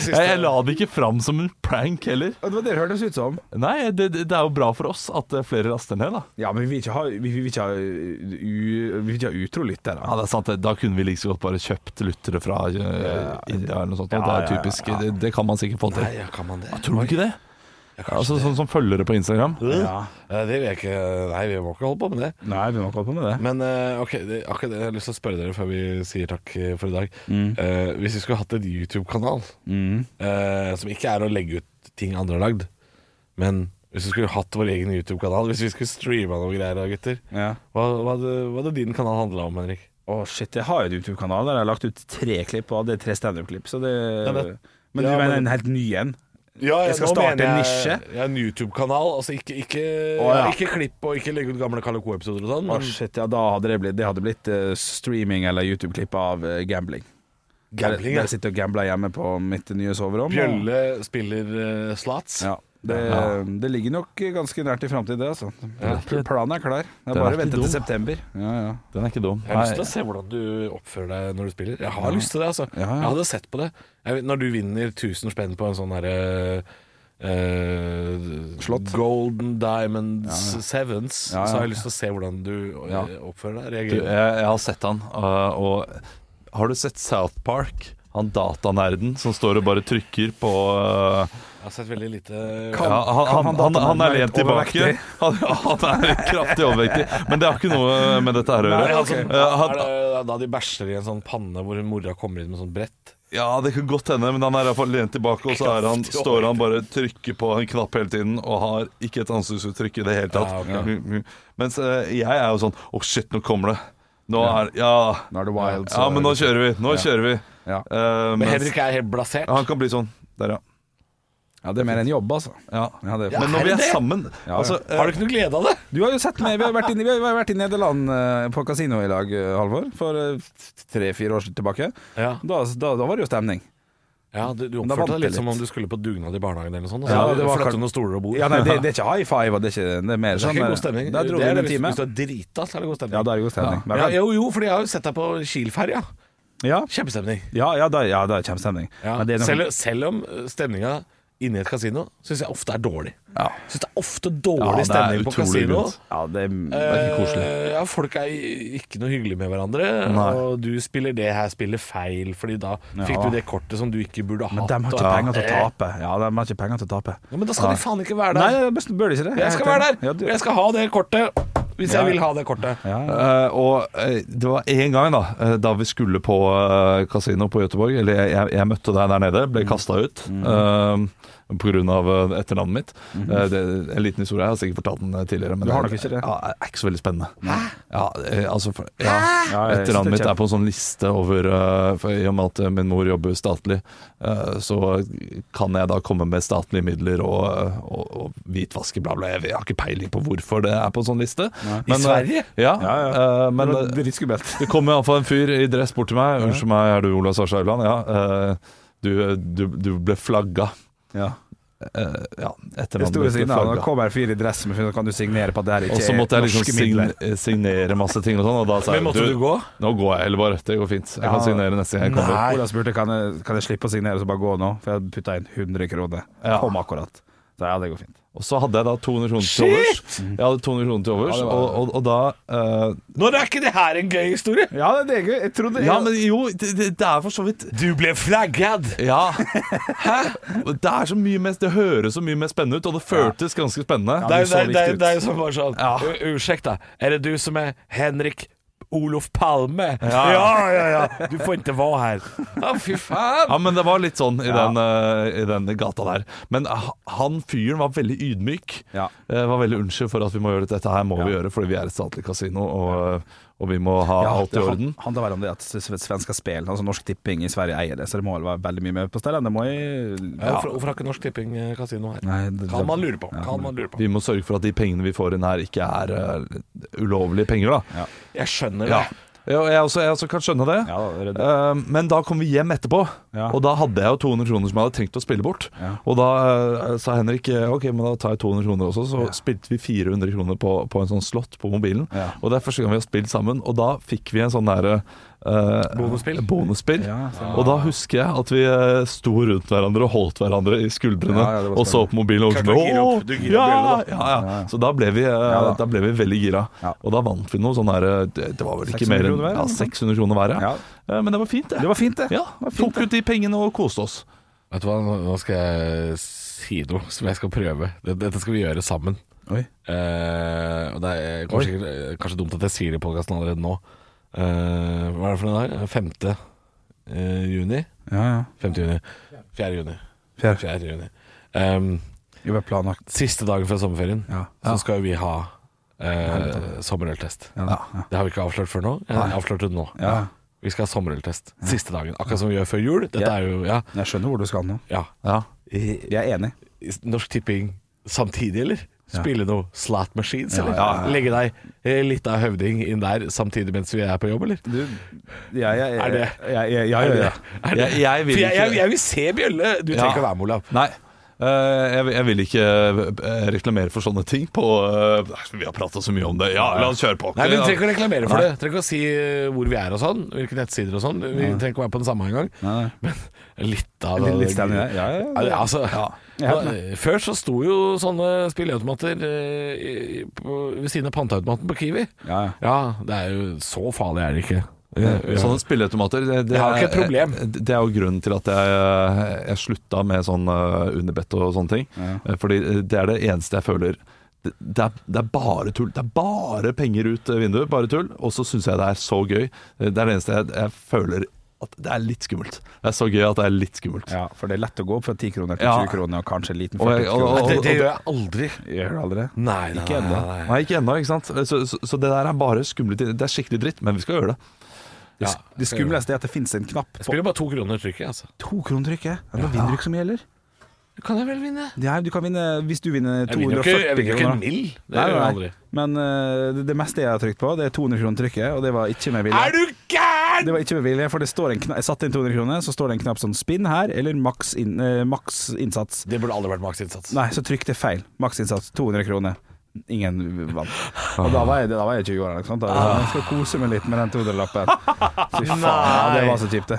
[SPEAKER 5] jeg la det ikke fram som en prank heller.
[SPEAKER 4] Og det var det det hørtes ut som.
[SPEAKER 5] Nei, det, det det er jo bra for oss at eh, flere raster ned, da.
[SPEAKER 4] Ja, men vi vil ikke ha, vi vil ikke ha, u- vi vil ikke ha utro lyttere.
[SPEAKER 5] Ja, det er sant. det. Da kunne vi like så godt bare kjøpt lyttere fra eh, India eller noe sånt.
[SPEAKER 4] Ja,
[SPEAKER 5] og
[SPEAKER 4] ja,
[SPEAKER 5] det er
[SPEAKER 4] ja,
[SPEAKER 5] typisk. Det, det kan man sikkert få til.
[SPEAKER 3] kan man det?
[SPEAKER 5] Tror du ikke det? Altså Sånn som følgere på Instagram.
[SPEAKER 4] Ja.
[SPEAKER 3] Eh, Det vil jeg ikke Nei, vi må ikke holde på med det.
[SPEAKER 4] Nei, vi må ikke holde på med det.
[SPEAKER 3] Men eh, ok, det, akkurat det jeg har lyst til å spørre dere før vi sier takk eh, for i dag.
[SPEAKER 4] Mm.
[SPEAKER 3] Eh, hvis vi skulle hatt en YouTube-kanal eh, som ikke er å legge ut ting andre har lagd, men hvis vi skulle hatt vår egen YouTube-kanal, hvis vi skulle streama noe greier da, gutter,
[SPEAKER 4] Ja.
[SPEAKER 3] hva, hva, hadde, hva hadde din kanal handla om, Henrik?
[SPEAKER 4] Å shit, jeg har jo en YouTube-kanal der jeg har lagt ut tre klipp, og det er tre standup-klipp, så det
[SPEAKER 3] men-
[SPEAKER 4] Men du
[SPEAKER 3] Ja,
[SPEAKER 4] mener
[SPEAKER 3] men-
[SPEAKER 4] en helt ny en?
[SPEAKER 3] Ja,
[SPEAKER 4] Jeg skal
[SPEAKER 3] nå
[SPEAKER 4] starte
[SPEAKER 3] mener
[SPEAKER 4] en
[SPEAKER 3] jeg- Ja, en YouTube-kanal. Altså ikke, ikke,
[SPEAKER 4] ja.
[SPEAKER 3] ikke klipp og ikke legge ut gamle Kalle Co-episoder og sånn,
[SPEAKER 4] Å
[SPEAKER 3] men
[SPEAKER 4] shit, ja, da hadde det blitt Det hadde blitt eh, streaming eller YouTube-klipp av eh, gambling.
[SPEAKER 3] gambling.
[SPEAKER 4] Der,
[SPEAKER 3] ja.
[SPEAKER 4] der sitter og gambler hjemme på mitt nye soverom. og-
[SPEAKER 3] Bjølle spiller eh, slats.
[SPEAKER 4] Ja. Det, det ligger nok ganske nært i framtid, det. Altså.
[SPEAKER 5] ikke-
[SPEAKER 4] Planen er klar. Det
[SPEAKER 5] er
[SPEAKER 4] er bare
[SPEAKER 5] ikke
[SPEAKER 4] å vente
[SPEAKER 5] dum.
[SPEAKER 4] til september. Ja, ja.
[SPEAKER 5] Den er ikke dum.
[SPEAKER 3] Jeg har lyst til å
[SPEAKER 5] Nei,
[SPEAKER 3] se hvordan du oppfører deg når du spiller. Jeg har lyst til det, altså.
[SPEAKER 4] Ja, ja.
[SPEAKER 3] Jeg hadde sett på det. Jeg, vet- når du vinner 1000 spenn på en sånn herre eh,
[SPEAKER 4] Slott.
[SPEAKER 3] Golden Diamond Sevens,
[SPEAKER 4] Ja, eh, ja.
[SPEAKER 3] så har jeg lyst til å se hvordan du eh,
[SPEAKER 5] Ja.
[SPEAKER 3] oppfører deg.
[SPEAKER 5] du,
[SPEAKER 3] Reagerer.
[SPEAKER 5] jeg, jeg har sett han, øh, og har du sett South Park? Han datanerden som står og bare trykker på øh,
[SPEAKER 3] Jeg har sett veldig lite
[SPEAKER 5] ja, han,
[SPEAKER 4] kan
[SPEAKER 5] han,
[SPEAKER 4] han
[SPEAKER 5] han, han er
[SPEAKER 4] datanerden være
[SPEAKER 5] lent tilbake.
[SPEAKER 4] overvektig?
[SPEAKER 5] Han, han er kraftig overvektig. Men det har ikke noe med dette her å
[SPEAKER 3] Er det
[SPEAKER 5] gjøre.
[SPEAKER 3] han som-
[SPEAKER 5] Eh, han-
[SPEAKER 3] altså, sånn- er det da de bæsjer i en sånn panne hvor mora kommer inn med sånn brett?
[SPEAKER 5] Ja, det kan godt hende, men han er i hvert fall lent tilbake, og så er han, står han bare og trykker på en knapp hele tiden og har ikke et ansiktsuttrykk i det hele tatt. Mm,
[SPEAKER 3] Ja,
[SPEAKER 5] Mens eh, jeg er jo sånn Å, shit, nå kommer det. Nå er Ja,
[SPEAKER 4] Nå er det wild.
[SPEAKER 5] ja men nå kjører vi. Nå kjører vi.
[SPEAKER 4] Ja.
[SPEAKER 5] Eh,
[SPEAKER 3] Men
[SPEAKER 5] mens-
[SPEAKER 3] Henrik er helt blasert.
[SPEAKER 5] han kan bli sånn. Der, ja.
[SPEAKER 4] Ja, det er mer en jobb, altså.
[SPEAKER 5] ja.
[SPEAKER 4] Ja, det er-
[SPEAKER 5] Men
[SPEAKER 3] er
[SPEAKER 5] når vi
[SPEAKER 3] det
[SPEAKER 5] er
[SPEAKER 3] det?
[SPEAKER 5] sammen
[SPEAKER 4] Ja,
[SPEAKER 5] altså, eh,
[SPEAKER 3] Har du ikke noe glede av det?
[SPEAKER 4] Du har jo sett meg, Vi har vært i, vi har vært i Nederland eh, på kasino i lag, eh, Halvor, for tre-fire år tilbake.
[SPEAKER 3] Ja.
[SPEAKER 4] Da, da, da var det jo stemning.
[SPEAKER 3] Ja, du, du
[SPEAKER 4] da vant
[SPEAKER 3] oppførte deg
[SPEAKER 4] jeg
[SPEAKER 3] litt som
[SPEAKER 4] litt.
[SPEAKER 3] om du skulle på dugnad i barnehagen eller noe sånt. og
[SPEAKER 4] Ja,
[SPEAKER 3] så
[SPEAKER 4] det var
[SPEAKER 3] flyttet
[SPEAKER 4] kan-
[SPEAKER 3] noen stoler og bord.
[SPEAKER 4] Ja, nei, det, det er ikke high five, og det er, ikke, det er mer
[SPEAKER 3] Det er
[SPEAKER 4] sånn
[SPEAKER 3] ikke
[SPEAKER 4] eh,
[SPEAKER 3] god stemning.
[SPEAKER 4] Der dro
[SPEAKER 3] det
[SPEAKER 4] vi
[SPEAKER 3] er det
[SPEAKER 4] inn en
[SPEAKER 3] hvis,
[SPEAKER 4] time.
[SPEAKER 3] hvis du er drita, så er det god stemning.
[SPEAKER 4] Ja, da er det god stemning.
[SPEAKER 3] Ja. Ja, jo, jo, fordi jeg har jo sett deg på Kiel-ferja.
[SPEAKER 4] Ja,
[SPEAKER 3] Kjempestemning.
[SPEAKER 4] ja, ja, da, ja, da kommer stemning.
[SPEAKER 3] Ja.
[SPEAKER 4] Men det er noe-
[SPEAKER 3] selv, selv om eh, stemninga inne i et kasino syns jeg ofte er dårlig.
[SPEAKER 4] Ja.
[SPEAKER 3] Syns det er ofte
[SPEAKER 5] Ja,
[SPEAKER 3] dårlig
[SPEAKER 5] det er
[SPEAKER 3] stemning på
[SPEAKER 5] utrolig
[SPEAKER 3] kasino.
[SPEAKER 5] grunt.
[SPEAKER 4] ja, det er,
[SPEAKER 5] ikke koselig.
[SPEAKER 3] Eh, ja, folk er i- ikke noe hyggelige med hverandre.
[SPEAKER 5] Nei.
[SPEAKER 3] Og du spiller det her, spiller feil, Fordi da fikk du det kortet som du ikke burde hatt.
[SPEAKER 4] men de har
[SPEAKER 3] og-
[SPEAKER 4] ikke penger til å tape. Ja, de har ikke penger til å tape.
[SPEAKER 3] Ja, men da skal de faen ikke være
[SPEAKER 4] Nei,
[SPEAKER 3] der.
[SPEAKER 4] best bør de ikke det.
[SPEAKER 3] jeg skal være der!
[SPEAKER 4] Ja, du,
[SPEAKER 3] Og jeg skal ha det kortet. Hvis jeg vil ha det kortet.
[SPEAKER 4] ja, ja.
[SPEAKER 5] Eh, og eh, det var en gang da eh, Da vi skulle på eh, kasino på Göteborg Eller jeg, jeg, jeg møtte deg der nede Ble
[SPEAKER 4] Mm.
[SPEAKER 5] kastet ut eh, På grunn av eh, etternavnet mitt Eh, det, En liten historie, jeg har sikkert fortalt den eh, tidligere
[SPEAKER 4] Mm.
[SPEAKER 5] Men
[SPEAKER 4] Du har
[SPEAKER 5] det er-
[SPEAKER 4] nok ikke det.
[SPEAKER 5] Ja, det er ikke så veldig spennende ja, eh, altså, for, ja,
[SPEAKER 4] Ja, jeg synes det er
[SPEAKER 5] Etternavnet mitt
[SPEAKER 4] kjempe-
[SPEAKER 5] er på en sånn liste over eh, for, I og med at eh, min mor jobber statlig eh, Så kan jeg da komme med statlige midler Og, eh, og, og hvitvaske bla bla Jeg har ikke peiling på hvorfor det er på en sånn liste Men, eh,
[SPEAKER 3] Sverige?
[SPEAKER 5] Ja,
[SPEAKER 3] Ah.
[SPEAKER 4] Ja, ja.
[SPEAKER 5] eh, men
[SPEAKER 4] det
[SPEAKER 5] det,
[SPEAKER 4] var dritskummelt.
[SPEAKER 5] det kom iallfall en fyr i dress bort til meg. 'Unnskyld meg, er du Ola Sarshaugland?' Ja. eh, du, du, du ble flagga.
[SPEAKER 4] Ja.
[SPEAKER 5] Eh, ja, etter
[SPEAKER 4] Det
[SPEAKER 5] navnet
[SPEAKER 4] sto
[SPEAKER 5] ble
[SPEAKER 4] ved siden av.
[SPEAKER 5] flagga.
[SPEAKER 4] Da kommer en fyr i dress med kan du signere på at det her
[SPEAKER 5] Og
[SPEAKER 4] ikke
[SPEAKER 5] så måtte
[SPEAKER 4] er
[SPEAKER 5] jeg liksom
[SPEAKER 4] norske midler.
[SPEAKER 5] sign- signere masse ting og sånn, og da sa jeg
[SPEAKER 3] Men måtte du gå?
[SPEAKER 5] Nå går jeg heller bare. Det går fint. Jeg
[SPEAKER 4] Ja.
[SPEAKER 5] kan signere neste gang jeg kommer.
[SPEAKER 4] Ola spurte kan jeg, kan jeg slippe å signere og så bare gå nå, for jeg hadde putta inn 100 kroner.
[SPEAKER 5] Ja.
[SPEAKER 4] Kom akkurat. Så ja, det går fint.
[SPEAKER 5] Og så hadde jeg da 200 kroner til overs. Jeg hadde 200 kroner til overs, og, og, og da eh,
[SPEAKER 3] Når er ikke det her en gøy historie?
[SPEAKER 4] Ja, det er gøy. Jeg trodde
[SPEAKER 5] Ja, men jo, det, det det er for så vidt
[SPEAKER 3] Du ble flaggad!
[SPEAKER 5] Ja. Hæ? Det, er så mye mer, det høres så mye mer spennende ut, og det føltes ganske spennende.
[SPEAKER 3] Det er jo-
[SPEAKER 4] så
[SPEAKER 3] det er- det er-
[SPEAKER 4] riktig ut.
[SPEAKER 3] det er jo som bare sånn
[SPEAKER 5] Ja.
[SPEAKER 3] "U- Unnskyld, da. Er det du som er Henrik Olof Palme?
[SPEAKER 5] Ja.
[SPEAKER 3] ja, ja. ja. Du får ikke være her. Å, fy faen.
[SPEAKER 5] Ja, men det var litt sånn i, den, eh, i den gata der. Men h- han fyren var veldig ydmyk.
[SPEAKER 4] Ja.
[SPEAKER 5] Eh, var veldig unnskyld for at vi må gjøre dette. Dette her må vi gjøre fordi vi er et statlig kasino, og, og vi må ha alt i orden.
[SPEAKER 4] Han, handler vel om det at s- s- svenska spel, altså Norsk Tipping i Sverige eier det, så det må vel være veldig mye mer på stell. Det må jeg
[SPEAKER 3] Ja, hvorfor, hvorfor har ikke Norsk Tipping eh, kasino her?
[SPEAKER 4] Nei, det-
[SPEAKER 3] kan man lure på. Kan man lure på.
[SPEAKER 5] Vi må sørge for at de pengene vi får inn her, ikke er eh, ulovlige penger, da.
[SPEAKER 3] Jeg skjønner
[SPEAKER 5] Ja.
[SPEAKER 3] det.
[SPEAKER 5] Jeg, jeg, også, jeg også kan skjønne det.
[SPEAKER 4] Ja, det er det.
[SPEAKER 5] Eh, men da kom vi hjem etterpå,
[SPEAKER 4] Ja.
[SPEAKER 5] og da hadde jeg jo 200 kroner som jeg hadde trengt å spille bort. Og da eh, sa Henrik eh, ok, men da tar jeg 200 kroner også, så spilte vi 400 kroner på, på en sånn slott på mobilen.
[SPEAKER 4] Ja.
[SPEAKER 5] Og det er første gang vi har spilt sammen, og da fikk vi en sånn derre eh,
[SPEAKER 3] Bonusspill.
[SPEAKER 5] bonusspill.
[SPEAKER 4] Ja,
[SPEAKER 5] og da husker jeg at vi eh, sto rundt hverandre og holdt hverandre i skuldrene
[SPEAKER 4] Ja, ja, det var
[SPEAKER 5] og så
[SPEAKER 4] spennende.
[SPEAKER 5] på mobilen. Og
[SPEAKER 3] Klart
[SPEAKER 5] sånn,
[SPEAKER 3] du gir opp.
[SPEAKER 5] «Åh,
[SPEAKER 3] Du gir opp
[SPEAKER 5] ja,
[SPEAKER 3] bjella,
[SPEAKER 5] ja, ja. Så da ble vi, eh, da.
[SPEAKER 4] da.
[SPEAKER 5] ble vi veldig gira.
[SPEAKER 4] Ja.
[SPEAKER 5] Og da vant vi noe sånn her eh, Det det var vel ikke
[SPEAKER 4] 600
[SPEAKER 5] mer
[SPEAKER 4] kroner hver,
[SPEAKER 5] enn ja,
[SPEAKER 4] eller noe sånt?
[SPEAKER 5] 600 kroner hver, ja.
[SPEAKER 4] Ja.
[SPEAKER 5] Eh, Men det var fint, det.
[SPEAKER 4] Det var fint, det.
[SPEAKER 5] Ja, tok ut de pengene og koste oss.
[SPEAKER 3] Vet du hva, nå nå skal jeg s- si noe som jeg skal prøve. Dette dette skal vi gjøre sammen.
[SPEAKER 4] Oi.
[SPEAKER 3] Eh, og det er kanskje, ikke- eh, kanskje dumt at jeg sier det i podkasten allerede nå. Eh, hva er det for en dag? 5. eh, juni?
[SPEAKER 4] Ja, ja.
[SPEAKER 3] 5. juni. 4. juni.
[SPEAKER 4] Fjerde.
[SPEAKER 3] 4. juni. Ehm,
[SPEAKER 4] Det var planlagt.
[SPEAKER 3] siste dagen før sommerferien
[SPEAKER 4] Ja.
[SPEAKER 3] så skal vi ha eh, sommerøltest.
[SPEAKER 4] Ja, da. ja.
[SPEAKER 3] Det har vi ikke avslørt før nå. Jeg har avslørt det nå.
[SPEAKER 4] ja.
[SPEAKER 3] Vi skal ha sommerøltest siste dagen, akkurat som vi gjør før jul. Dette
[SPEAKER 4] Ja.
[SPEAKER 3] er jo ja,
[SPEAKER 4] Jeg skjønner hvor du skal nå.
[SPEAKER 3] ja.
[SPEAKER 5] Ja.
[SPEAKER 3] I-
[SPEAKER 4] Jeg er enig.
[SPEAKER 3] Norsk Tipping samtidig, eller? Spille noe slot machines, eller?
[SPEAKER 4] ja, ja.
[SPEAKER 3] Legge deg eh, litt av høvding inn der samtidig mens vi er på jobb, eller?
[SPEAKER 4] Du, jeg, jeg,
[SPEAKER 3] Er det-
[SPEAKER 4] Ja, ja, ja.
[SPEAKER 3] Er det-
[SPEAKER 4] ja.
[SPEAKER 3] er det-
[SPEAKER 5] Jeg- jeg vil
[SPEAKER 3] For jeg,
[SPEAKER 5] ikke-
[SPEAKER 3] jeg, jeg vil se Bjølle! Du trenger
[SPEAKER 5] Ja.
[SPEAKER 3] ikke å være med, Olav.
[SPEAKER 5] Nei. Eh, jeg, vil- jeg vil ikke eh, reklamere for sånne ting på eh, Vi har prata så mye om det. Ja, la oss kjøre på.
[SPEAKER 3] Nei, men Du trenger ikke å
[SPEAKER 5] ja.
[SPEAKER 3] reklamere for
[SPEAKER 5] Nei.
[SPEAKER 3] det. Du trenger ikke å si eh, hvor vi er og sånn, hvilke nettsider og sånn. Vi trenger ikke å være på den samme engang.
[SPEAKER 4] Nei.
[SPEAKER 3] Men litt av
[SPEAKER 4] Litt- litt stemning der. Ja, ja, ja.
[SPEAKER 3] det- Altså,
[SPEAKER 4] Jeg er
[SPEAKER 3] da- Før så sto jo sånne spilleautomater eh, i- på- ved siden av panteautomaten på Kiwi.
[SPEAKER 4] Ja, ja.
[SPEAKER 3] det er jo Så farlig er det ikke. Ja.
[SPEAKER 5] Sånne spilleautomater det, det
[SPEAKER 3] Jeg har
[SPEAKER 5] er-
[SPEAKER 3] ikke et problem.
[SPEAKER 5] Det er jo grunnen til at jeg, jeg slutta med sånn eh, underbett og sånne ting. Eh, Fordi det er det eneste jeg føler det det er, det er bare tull. Det er bare penger ut eh, vinduet, bare tull. Og så syns jeg det er så gøy. Eh, Det er det eneste jeg, jeg føler at det er litt skummelt. Det er så gøy at det er litt skummelt.
[SPEAKER 4] Ja, for det er lett å gå opp fra 10 kroner til
[SPEAKER 5] Ja.
[SPEAKER 4] 20 kroner, og kanskje en liten
[SPEAKER 5] Og
[SPEAKER 4] 40
[SPEAKER 5] jeg- og-
[SPEAKER 4] kroner.
[SPEAKER 5] og-
[SPEAKER 3] Det, det gjør jeg aldri.
[SPEAKER 4] Gjør du aldri det?
[SPEAKER 3] Nei, nei,
[SPEAKER 4] Ikke ennå.
[SPEAKER 5] Nei, ikke ennå, ikke sant. Eh, Så, så, så det der er bare skumle ting. Det er skikkelig dritt, men vi skal gjøre det.
[SPEAKER 3] Ja,
[SPEAKER 4] Det skumleste er at det finnes en knapp
[SPEAKER 3] Jeg
[SPEAKER 4] på
[SPEAKER 3] spiller bare to kroner trykket, altså.
[SPEAKER 4] tokronertrykket. Ja, da vinner du ikke så mye heller.
[SPEAKER 3] Kan jeg vel vinne?
[SPEAKER 4] Det er- Du kan vinne hvis du vinner
[SPEAKER 3] Jeg vinner jo ikke,
[SPEAKER 4] 240
[SPEAKER 3] jeg vinner jo ikke en
[SPEAKER 4] kroner.
[SPEAKER 3] mill. Det
[SPEAKER 4] Nei,
[SPEAKER 3] gjør jeg
[SPEAKER 4] nei,
[SPEAKER 3] aldri.
[SPEAKER 4] nei. Men eh, det, det meste jeg har trykt på, det er 200 kroner trykket, og det var ikke med vilje.
[SPEAKER 3] Er du gæren?!
[SPEAKER 4] Det var ikke med vilje, for det står en knapp Jeg satte inn 200 kroner, så står det en knapp sånn spinn her, eller maks inn, eh, maks innsats.
[SPEAKER 3] Det burde aldri vært maksinnsats.
[SPEAKER 4] Nei, så trykte jeg feil. Maks innsats 200 kroner. Ingen vant. Og da var jeg, da var jeg 20 år. eller noe sånt. Da
[SPEAKER 3] Ah.
[SPEAKER 4] var jeg sånn, jeg skal kose meg litt med den 200-lappen. Fy faen, det var så kjipt, det.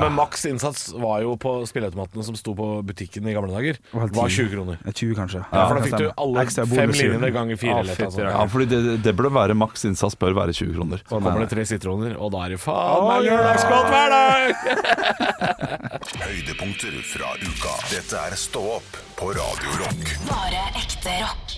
[SPEAKER 3] Men maks innsats var jo på spilleautomatene som sto på butikken i gamle dager.
[SPEAKER 4] Var
[SPEAKER 3] Var 20 kroner.
[SPEAKER 4] Ja, 20 kanskje.
[SPEAKER 3] Ja, for da fikk du alle fem linjene ganger fire.
[SPEAKER 4] Ja,
[SPEAKER 3] eller et eller annet
[SPEAKER 4] fytti
[SPEAKER 3] sånt.
[SPEAKER 5] Ja, fordi det, det burde være maks innsats bør være 20 kroner.
[SPEAKER 3] Så kommer det tre sitroner, og da er det faen meg lørdagsgodt hver dag!
[SPEAKER 1] Høydepunkter fra uka. Dette er Stå opp på Radio Rock.
[SPEAKER 2] Bare ekte rock.